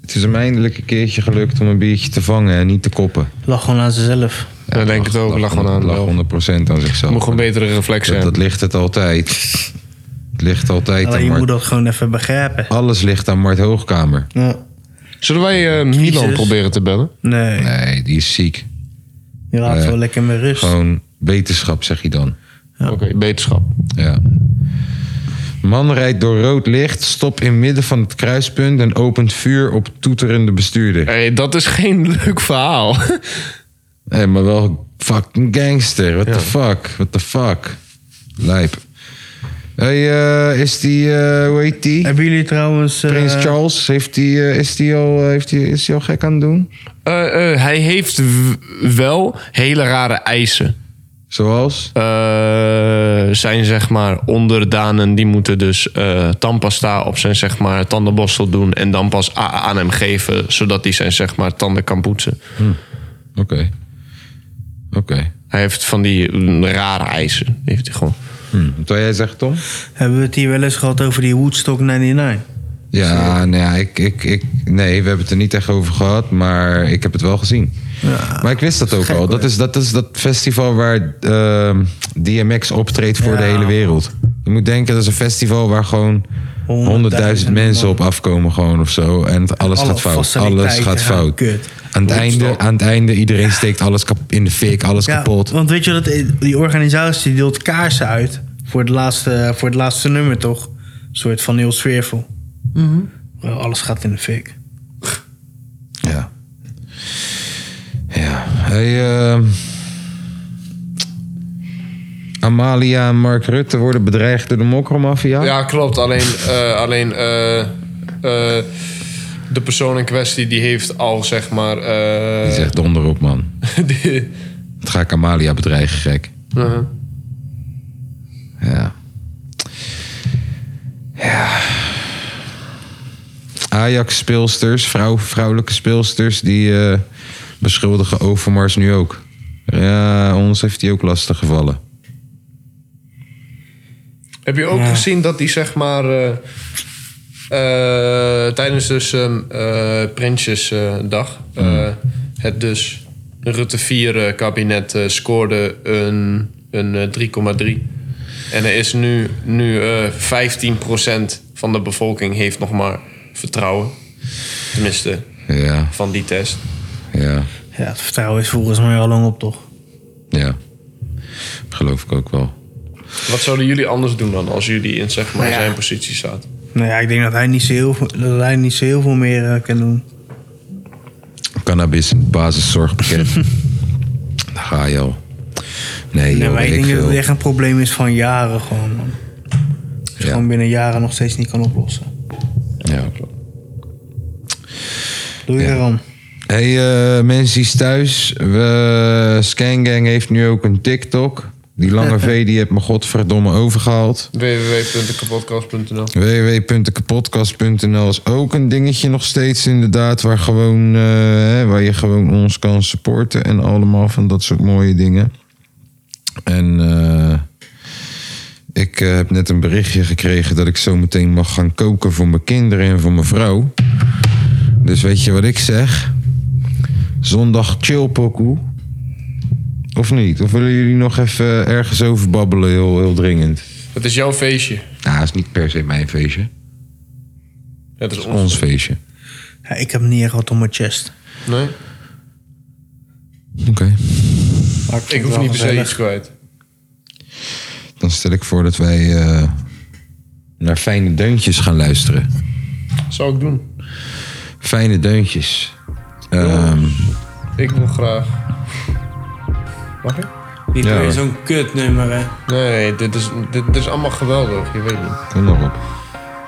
het is hem eindelijk een keertje gelukt om een biertje te vangen en niet te koppen.
Lag gewoon aan zichzelf.
Ja, denk het ook. Lach gewoon aan.
Lag
Wel.
100% aan zichzelf.
Moet gewoon betere reflexen
dat, dat
hebben.
ligt het altijd. Het ligt altijd
Alleen
aan
je
Mart.
moet dat gewoon even begrijpen.
Alles ligt aan Mart Hoogkamer.
Ja.
Zullen wij eh, Milan
Jezus.
proberen te bellen?
Nee,
Nee, die is ziek.
je laat
Eh,
wel lekker met rust.
Gewoon beterschap, zeg je dan.
Oké, beterschap.
Ja. Man rijdt door rood licht, stopt in midden van het kruispunt en opent vuur op toeterende bestuurder.
hey, dat is geen leuk verhaal.
Hé, maar wel fucking gangster. What the fuck? What the fuck? Lijp. hey, eh, is die, eh, hoe heet die?
Hebben jullie trouwens... eh,
Prins Charles, heeft die, eh, is, die al, eh, heeft die, is die al gek aan het doen?
Eh, eh, hij heeft w- wel hele rare eisen.
Zoals?
Eh, zijn zeg maar onderdanen die moeten dus eh, tandpasta op zijn zeg maar tandenborstel doen en dan pas a- aan hem geven zodat hij zijn zeg maar tanden kan poetsen.
Oké. Oké.
Hij heeft van die mm, rare eisen. Heeft hij gewoon.
Hm, Wat wil jij zeggen, Tom?
Hebben we het hier wel eens gehad over die Woodstock 99? Dus, eh,
Ja, nou ja, ik, ik, ik, nee, we hebben het er niet echt over gehad, maar ik heb het wel gezien. maar ik wist dat ook al. Dat is dat, is dat festival waar ehm, DMX optreedt voor de
Ja.
hele wereld. Je moet denken, dat is een festival waar gewoon 100.000
Honderdduizenden
mensen
man.
op afkomen gewoon of zo. En het- alles
Alle
gaat fout.
faciliteiten
Alles gaat
gaan
fout.
kut.
Aan het, einde, aan het einde, iedereen steekt alles kap- in de fik, alles
Ja,
kapot.
want weet je dat eh, die organisatie deelt kaarsen uit voor het laatste, voor het laatste nummer toch? Een soort van heel sfeervol. Wel, Alles gaat in de fik.
Ja. Ja. Hey, ehm, Amalia en Mark Rutte worden bedreigd door de mokromafia.
Ja, klopt. Alleen, eh, alleen eh, eh, de persoon in kwestie die heeft al zeg maar. eh,
Die zegt donderop, man.
die-
Dat ga ik Amalia bedreigen, gek.
Uh-huh.
Ja. Ja. Ajax-speelsters, vrouw, vrouwelijke speelsters, die eh, beschuldigen Overmars nu ook. Ja, ons heeft hij ook lastig gevallen.
Heb je ook gezien dat die zeg maar. eh, eh, tijdens dus ehm, eh, Prinsjesdag. eh, het dus Rutte 4 eh, kabinet eh, scoorde een, een eh, 3,3. En er is nu, nu eh 15% van de bevolking heeft nog maar vertrouwen. Tenminste,
Ja,
van die test.
ja.
Ja, het vertrouwen is volgens mij al lang op toch?
Ja, geloof ik ook wel.
Wat zouden jullie anders doen dan als jullie in zeg maar, zijn positie zaten?
Nou ja, ik denk dat hij niet zo heel, dat hij niet zo heel veel meer eh, kan doen.
Cannabis in het basiszorgpakket. Daar ga je al. Nee, joh,
nee, maar ik
weet
denk dat
veel.
het echt een probleem is van jaren gewoon. Man. Dat je
Ja.
gewoon binnen jaren nog steeds niet kan oplossen.
Ja.
Doe je
Ja.
eraan.
Hey eh, mensen die thuis, we, Scangang heeft nu ook een TikTok. Die lange V die heeft me godverdomme overgehaald.
www.kapodcast.nl
www.dekepodcast.nl is ook een dingetje nog steeds inderdaad... Waar, gewoon, eh, hè, waar je gewoon ons kan supporten en allemaal van dat soort mooie dingen. En eh, ik eh, heb net een berichtje gekregen dat ik zo meteen mag gaan koken voor mijn kinderen en voor mijn vrouw. Dus weet je wat ik zeg? Zondag chill pokoe. Of niet? Of willen jullie nog even ergens over babbelen, heel, heel dringend?
Het is jouw feestje.
Nou, het is niet per se mijn feestje.
Het is ons.
Dus Ons feestje.
Ja, ik heb niet echt wat op mijn chest.
Nee?
Oké.
Maar vond
Ik
het
hoef
wel
niet per se
gezellig.
iets kwijt.
Dan stel ik voor dat wij eh, naar fijne deuntjes gaan luisteren.
Zou ik doen.
Fijne deuntjes. Ehm,
Ik wil graag. Mag ik?
Niet
Ja, hoor.
meer zo'n kutnummer, hè.
Nee, dit is, dit, dit is allemaal geweldig. Je weet niet.
kom nog op.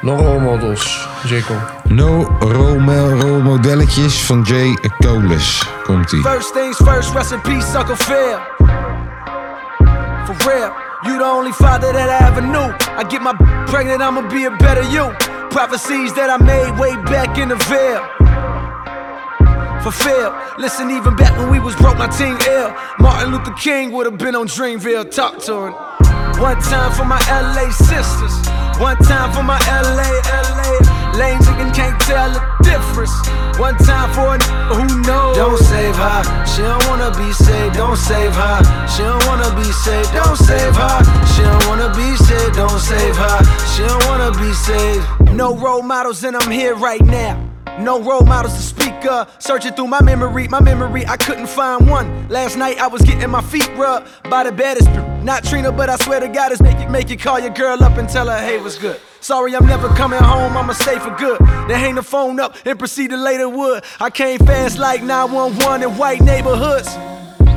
Nog rolmodels, Jacob.
No rolmodelletjes van J. Coles. Komt ie.
First things first, rest in peace, Uncle Phil. For real, you the only father that I ever knew. I get my pregnant, I'ma be a better you. Prophecies that I made way back in the veil. fulfilled. Listen, even back when we was broke, my team ill. Martin Luther King would have been on Dreamville. Talk to him. One time for my LA sisters. One time for my LA, LA. Lame chicken can't tell the difference. One time for a n- who knows. Don't save her. She don't wanna be saved. Don't save her. She don't wanna be saved. Don't save her. She don't wanna be saved. Don't save her. She don't wanna be saved. No role models, and I'm here right now. No role models to speak of. Searching through my memory, my memory, I couldn't find one. Last night I was getting my feet rubbed by the baddest. bitch. Not Trina, but I swear to God, it's make it, make it. Call your girl up and tell her, hey, what's good? Sorry, I'm never coming home, I'ma stay for good. Then hang the phone up and proceed to later wood. I came fast like 911 in white neighborhoods.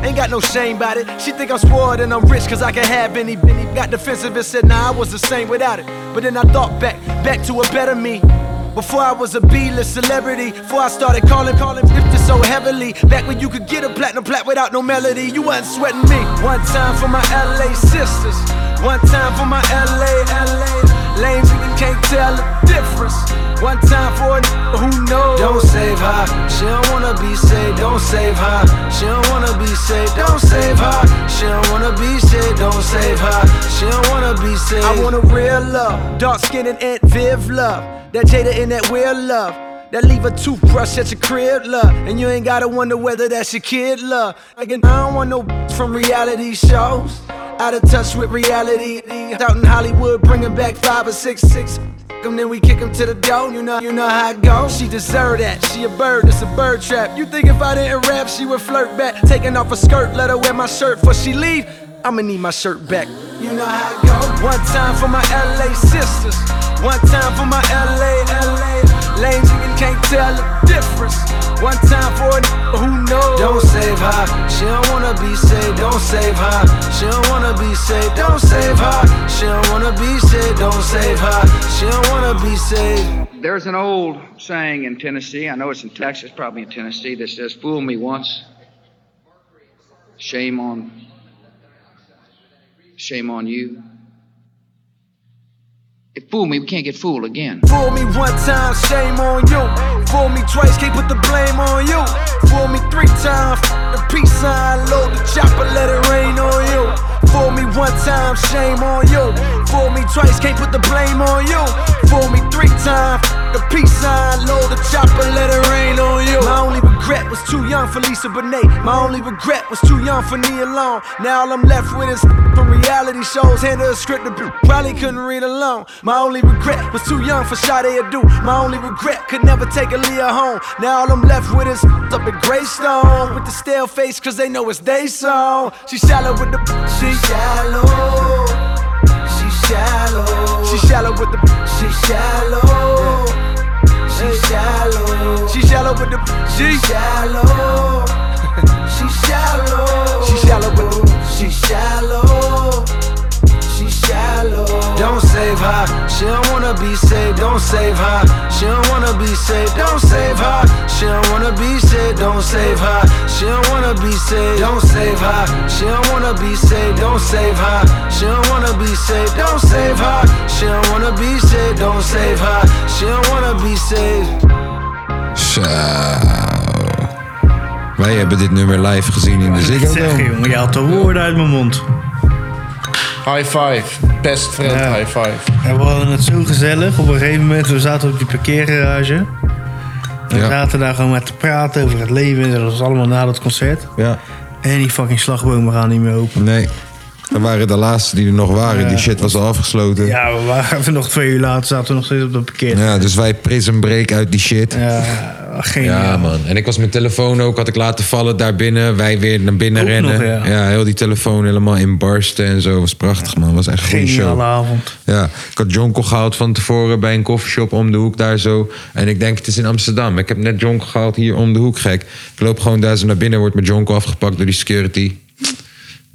Ain't got no shame about it. She think I'm spoiled and I'm rich cause I can have any Benny. Got defensive and said, nah, I was the same without it. But then I thought back, back to a better me. Before I was a B-list celebrity, before I started calling, calling, drifted so heavily. Back when you could get a platinum plat without no melody, you wasn't sweating me. One time for my LA sisters, one time for my LA, LA. Lanes you can't tell the difference. One time for a n- who knows. Don't save her. She don't wanna be saved. Don't save her. She don't wanna be saved. Don't save her. She don't wanna be saved. Don't save her. She don't wanna be saved. I want a real love. Dark skin and Aunt Viv love. That Jada and that weird love. That leave a toothbrush at your crib, love. And you ain't gotta wonder whether that's your kid, love. Like, and I don't want no from reality shows. Out of touch with reality. Out in Hollywood, bringing back five or six, six. And then we kick him to the door, you know, you know how it goes. She deserve that. She a bird, it's a bird trap. You think if I didn't rap, she would flirt back. Taking off her skirt, let her wear my shirt before she leave. I'ma need my shirt back. You know how it go. One time for my LA sisters. One time for my LA, LA. Lanes you can't tell the difference. One time for a n- who knows. Don't save her. She don't wanna be saved. Don't save her. She don't wanna be saved. Don't save her. She don't wanna be saved. Don't save her. She don't wanna be saved.
There's an old saying in Tennessee, I know it's in Texas, probably in Tennessee, that says, Fool me once, shame on, shame on you. If fool me, we can't get fooled again.
Fool me one time, shame on you. Fool me twice, can't put the blame on you. Fool me three times, f- the peace sign, load the chopper, let it rain on you. Fool me one time, shame on you. Fool me twice, can't put the blame on you. Fool me three times, f- the peace sign, load the chopper, let it rain on you. My only regret was too young for Lisa Bonet. My only regret was too young for Nia Long. Now all I'm left with is from reality shows. Handed a script to b- probably couldn't read alone. My only regret was too young for Sade Adu. My only regret could never take a Leah home. Now all I'm left with is up at Greystone with the stale face, cause they know it's they song. She shallow with the she shallow. She shallow. She shallow with the she shallow. She shallow. She shallow with the she shallow. She shallow. She shallow with the she shallow. She shallow. Don't save her. She don't wanna be saved. Don't save her. She don't wanna be saved. Don't save her. She don't wanna be saved. Don't save her. She don't wanna be saved. Don't save her. She don't wanna be saved. Don't save her. She don't wanna be saved. Don't save her. She don't wanna be saved. Don't save her. She don't wanna be saved.
Zo. Wij hebben dit nummer live gezien in de Ziggo
Zeg
Dome.
jongen, je haalt de woorden uit mijn mond.
High five. Best friend
Ja.
high five.
En we hadden het zo gezellig. Op een gegeven moment, we zaten op die parkeergarage. En we
Ja.
zaten daar gewoon maar te praten over het leven. En dat was allemaal na dat concert.
Ja.
En die fucking slagbomen gaan niet meer open.
Nee. Dat waren de laatste die er nog waren. Die shit was al afgesloten. Ja.
Ja, we waren er nog twee uur later, zaten we nog steeds op dat parkeer.
dus wij prison break uit die shit.
Ja, geen... eh,
Ja, man. En ik was mijn telefoon ook, had ik laten vallen daar binnen. Wij weer naar binnen
Ook
rennen.
nog,
ja.
ja.
heel die telefoon helemaal in barsten en zo. Was prachtig, man. Was echt een goede show.
Geniale avond.
Ja, ik had jonkel gehaald van tevoren bij een koffieshop om de hoek daar zo. En ik denk, het is in Amsterdam. Ik heb net jonkel gehaald hier om de hoek, gek. Ik loop gewoon daar zo naar binnen, wordt mijn jonkel afgepakt door die security.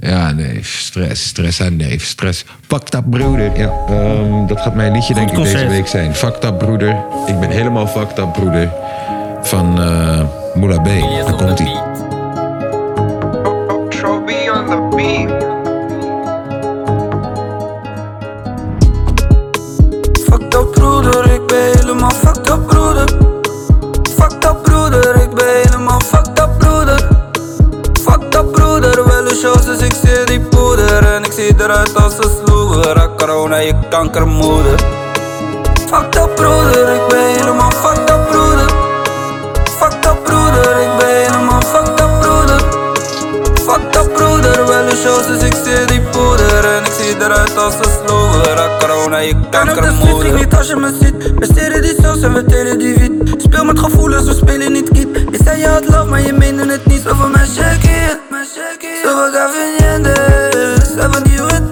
Ja, nee, stress, stress aan nee, stress. Fuck dat broeder. Ja, ehm, dat gaat mijn liedje denk ik deze
concert.
week zijn. Fuck dat broeder. Ik ben helemaal fuck dat broeder. Van eh Moula B. Daar komt hij.
Trophy on the beat.
Fuck dat broeder, ik ben helemaal fuck dat broeder. Fuck dat broeder, ik ben helemaal shows, dus ik steer die poeder. En ik zie eruit als een sloeger. Ah, corona, je kankermoeder. Fuck dat broeder, ik ben helemaal fuck dat broeder. Fuck dat broeder, ik ben helemaal fuck dat broeder. Fuck dat broeder, wel een shows, dus ik steer die poeder. En ik zie eruit als een sloeger. Ah, corona, je
Kan op de
kankermoeder.
street niet als je me ziet. We stelen die zelfs en we telen die wiet. Speel met gevoelens, we spelen niet kiet. Je zei je had love, maar je meende het niet. Zo van mij check it. Zo we gaan vernietigen. Zij van die het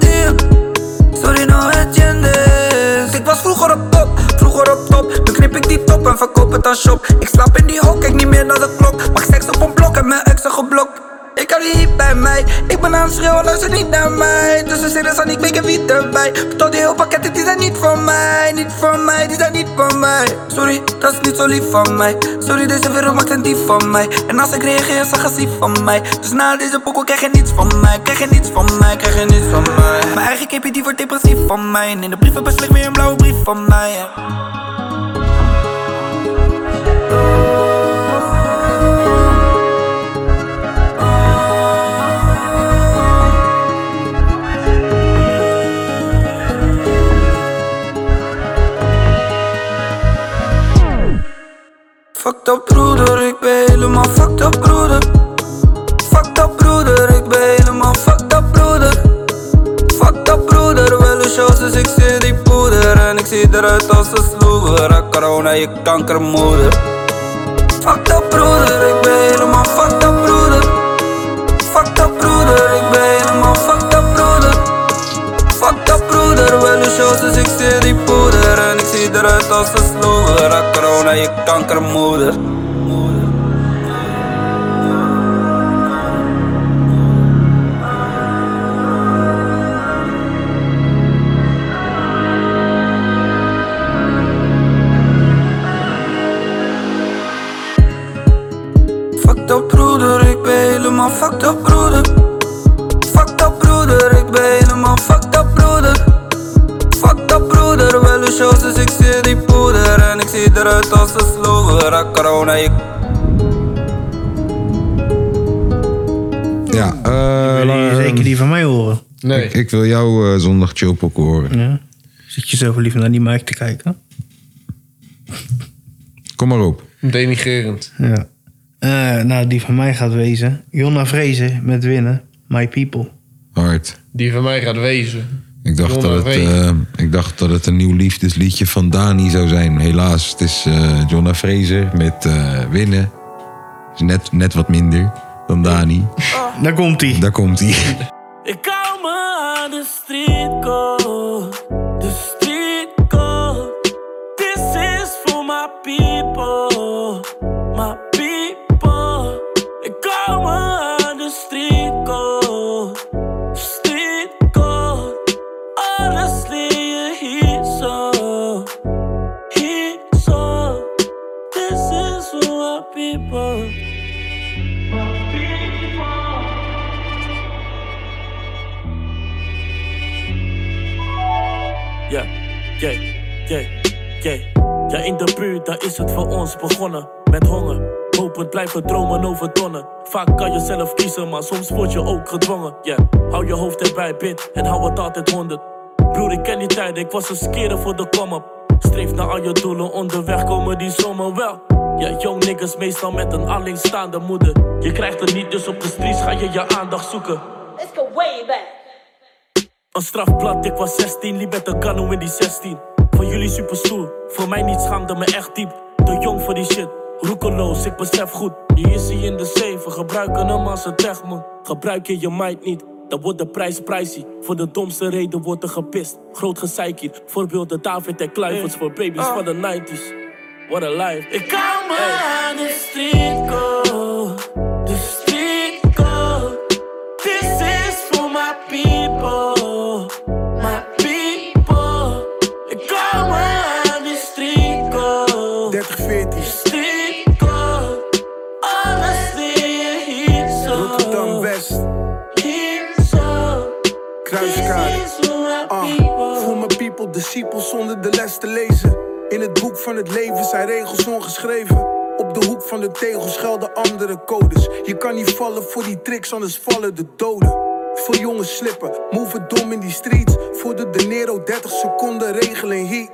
Sorry, no entiendes. Ik was vroeger op top, vroeger op top. Nu knip ik die top en verkoop het aan shop. Ik slaap in die hok, kijk niet meer naar de klok. Mag seks op een blok en mijn exen geblokt. Ik kan niet bij mij, ik ben aan het schreeuwen, luister niet naar mij. Tussen zinnen zal niet weten wie erbij. Tot die heel pakketten, die zijn niet van mij. Niet van mij, die zijn niet van mij. Sorry, dat is niet zo lief van mij. Sorry, deze wereld maakt een dief van mij. En als ik reageer, is agressief van mij. Dus na deze pokoe krijg je niets van mij. Krijg je niets van mij, krijg je niets van mij. Mijn eigen kippie, die wordt depressief van mij. En in de brieven beslecht weer een blauwe brief van mij. ja.
Fuck dat broeder, ik ben helemaal fuck dat broeder. Fuck dat broeder, ik ben helemaal fuck dat broeder. Fuck dat broeder, wel een shows, dus ik zie die poeder. En ik zie eruit als een sloeger. Ah, corona, je kankermoeder. Fuck dat broeder, ik ben helemaal fuck dat broeder. Fuck dat broeder, ik ben helemaal fuck dat broeder. Fuck dat broeder, wel een shows, dus ik zie die poeder. En ik zie eruit als een sloeger. Ah, corona, je kankermoeder. Fuck dat broeder, ik ben helemaal fuck dat broeder. Fuck dat broeder, ik ben helemaal fuck dat broeder. Fuck dat broeder, wel een shows, dus ik zie die poeder. En ik zie eruit als een sloeger, ah, corona, je
Ja, eh,
Wil je zeker die van mij horen?
Nee.
ik, ik wil jou eh, zondag chillpokken horen.
Ja. Zit je zo verliefd naar die mic te kijken?
Kom maar op.
Denigerend.
Ja. nou, die van mij gaat wezen. Jonna Vrezen met winnen. My people.
Hard.
Die van mij gaat wezen.
Ik dacht,
Jonna
dat het,
Vrezen.
eh, ik dacht dat het een nieuw liefdesliedje van Dani zou zijn. Helaas, het is eh Jonna Fraser met eh, Winnen. Is net, net wat minder dan Dani.
Daar komt ie.
Daar komt hij.
Ik hou me aan de streetcode, de streetcode. This is for my people, my people. Ik hou me aan de streetcode, streetcode. Alles leer je hier zo, hier zo. This is for my people. Ja, ja, ja, ja. Ja, in de buurt, daar is het voor ons begonnen. Met honger, hopend blijven dromen over tonnen. Vaak kan je zelf kiezen, maar soms word je ook gedwongen. Ja, hou je hoofd erbij, bid en hou het altijd honderd. Broer, ik ken die tijd, ik was een skeren voor de kom-up. Streef naar al je doelen, onderweg komen die zomer wel. Ja, jong niggas meestal met een alleenstaande moeder. Je krijgt het niet, dus op de streets ga je je aandacht zoeken.
Let's go way back.
Een strafblad, ik was 16, liep met een kano in die 16. Voor jullie super stoer, voor mij niet schaamde me echt diep. Te jong voor die shit, roekeloos, ik besef goed. Nu is hij in de zeven, gebruiken hem als een techman. Gebruik je je mind niet, dan wordt de prijs pricey. Voor de domste reden wordt er gepist. Groot gezeik hier, voorbeelden David en Kluivers voor baby's van de 90s. What a life. Ik
Come on, the street go. The street go. This is for my people. My people. Come on, the street go.
30, 40.
Street go. Alles leer je hier zo.
Rotterdam West,
Hier zo.
kruiskade.
This is for my
Ah,
people.
voor mijn people, disciples zonder de les te lezen. In het boek van het leven zijn regels ongeschreven.
Op de hoek van de tegels gelden andere codes. Je kan niet vallen voor die tricks, anders vallen de doden. Veel jongens slippen, move het dom in die streets. Voor de De Nero 30 seconden regelen heat.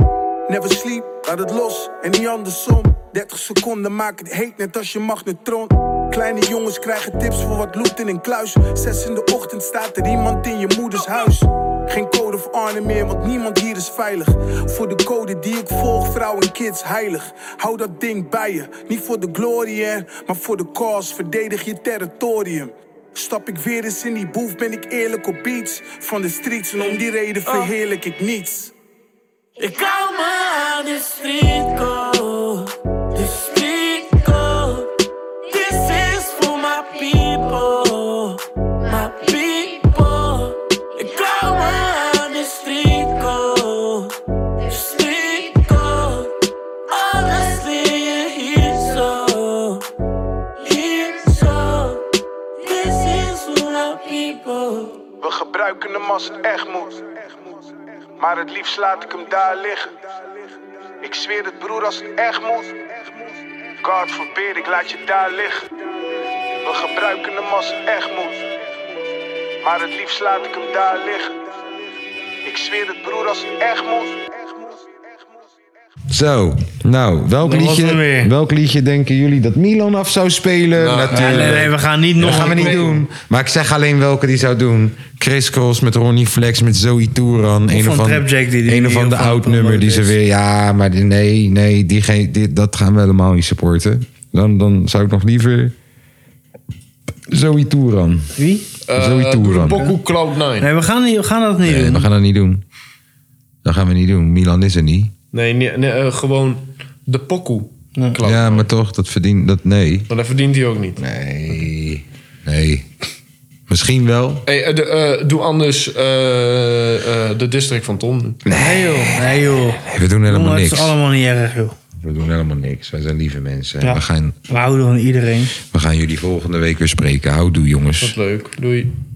Never sleep, laat het los en niet andersom. 30 seconden maak het heet, net als je magnetron. Kleine jongens krijgen tips voor wat loot in een kluis. Zes in de ochtend staat er iemand in je moeders huis. Geen code of honor meer, want niemand hier is veilig. Voor de code die ik volg, vrouwen en kids heilig. Hou dat ding bij je, niet voor de glorie, hè, maar voor de cause. Verdedig je territorium. Stap ik weer eens in die boef, ben ik eerlijk op beats. Van de streets en om die reden verheerlijk ik niets.
Ik hou me aan de strinko, de strinko. This is for my people, my people. Ik hou me aan de strinko, de strinko. Alles leer je hier zo, hier zo. This is for my people.
We gebruiken hem als het echt moet. Maar het liefst laat ik hem daar liggen. Ik zweer het broer als het echt moet. God forbid, ik laat je daar liggen. We gebruiken hem als het echt moet. Maar het liefst laat ik hem daar liggen. Ik zweer het broer als het echt moet.
Zo, nou, welk
Dat was hem
liedje,
weer.
welk liedje denken jullie dat Milan af zou spelen?
Nou,
Natuurlijk.
nee, nee, we gaan niet
Dat
nog
gaan we
een
niet
keer.
doen. Maar ik zeg alleen welke die zou doen. Chris Cross met Ronnie Flex, met Zoe Touran.
Of
Een
van
of, van,
Trap Jack die die
een of
heel
de
vaak
oud nummer die ze
promoot
weer... Ja, maar die- nee, nee, die geen, dit, dat gaan we helemaal niet supporten. Dan, dan zou ik nog liever... Zoe Touran.
Wie?
Eh,
Zoe Touran.
Cloud 9.
Nee, we gaan, niet, we gaan dat niet
Nee,
doen.
we gaan dat niet doen. Dat gaan we niet doen. Milan is er niet.
Nee, nee, nee, eh, gewoon de pokoe.
ja, maar toch, dat verdient... Dat, nee.
Maar dat verdient hij ook niet.
Nee. Nee. Misschien wel.
Hey, eh, de, eh, doe anders eh, eh, de district van Tom. nu.
Nee joh. Nee joh.
We doen helemaal
Jongen, Het
niks.
is allemaal niet erg joh.
We doen helemaal niks. Wij zijn lieve mensen.
Ja.
We, gaan,
We houden van iedereen.
we gaan jullie volgende week weer spreken. Houdoe jongens.
Leuk. Doei.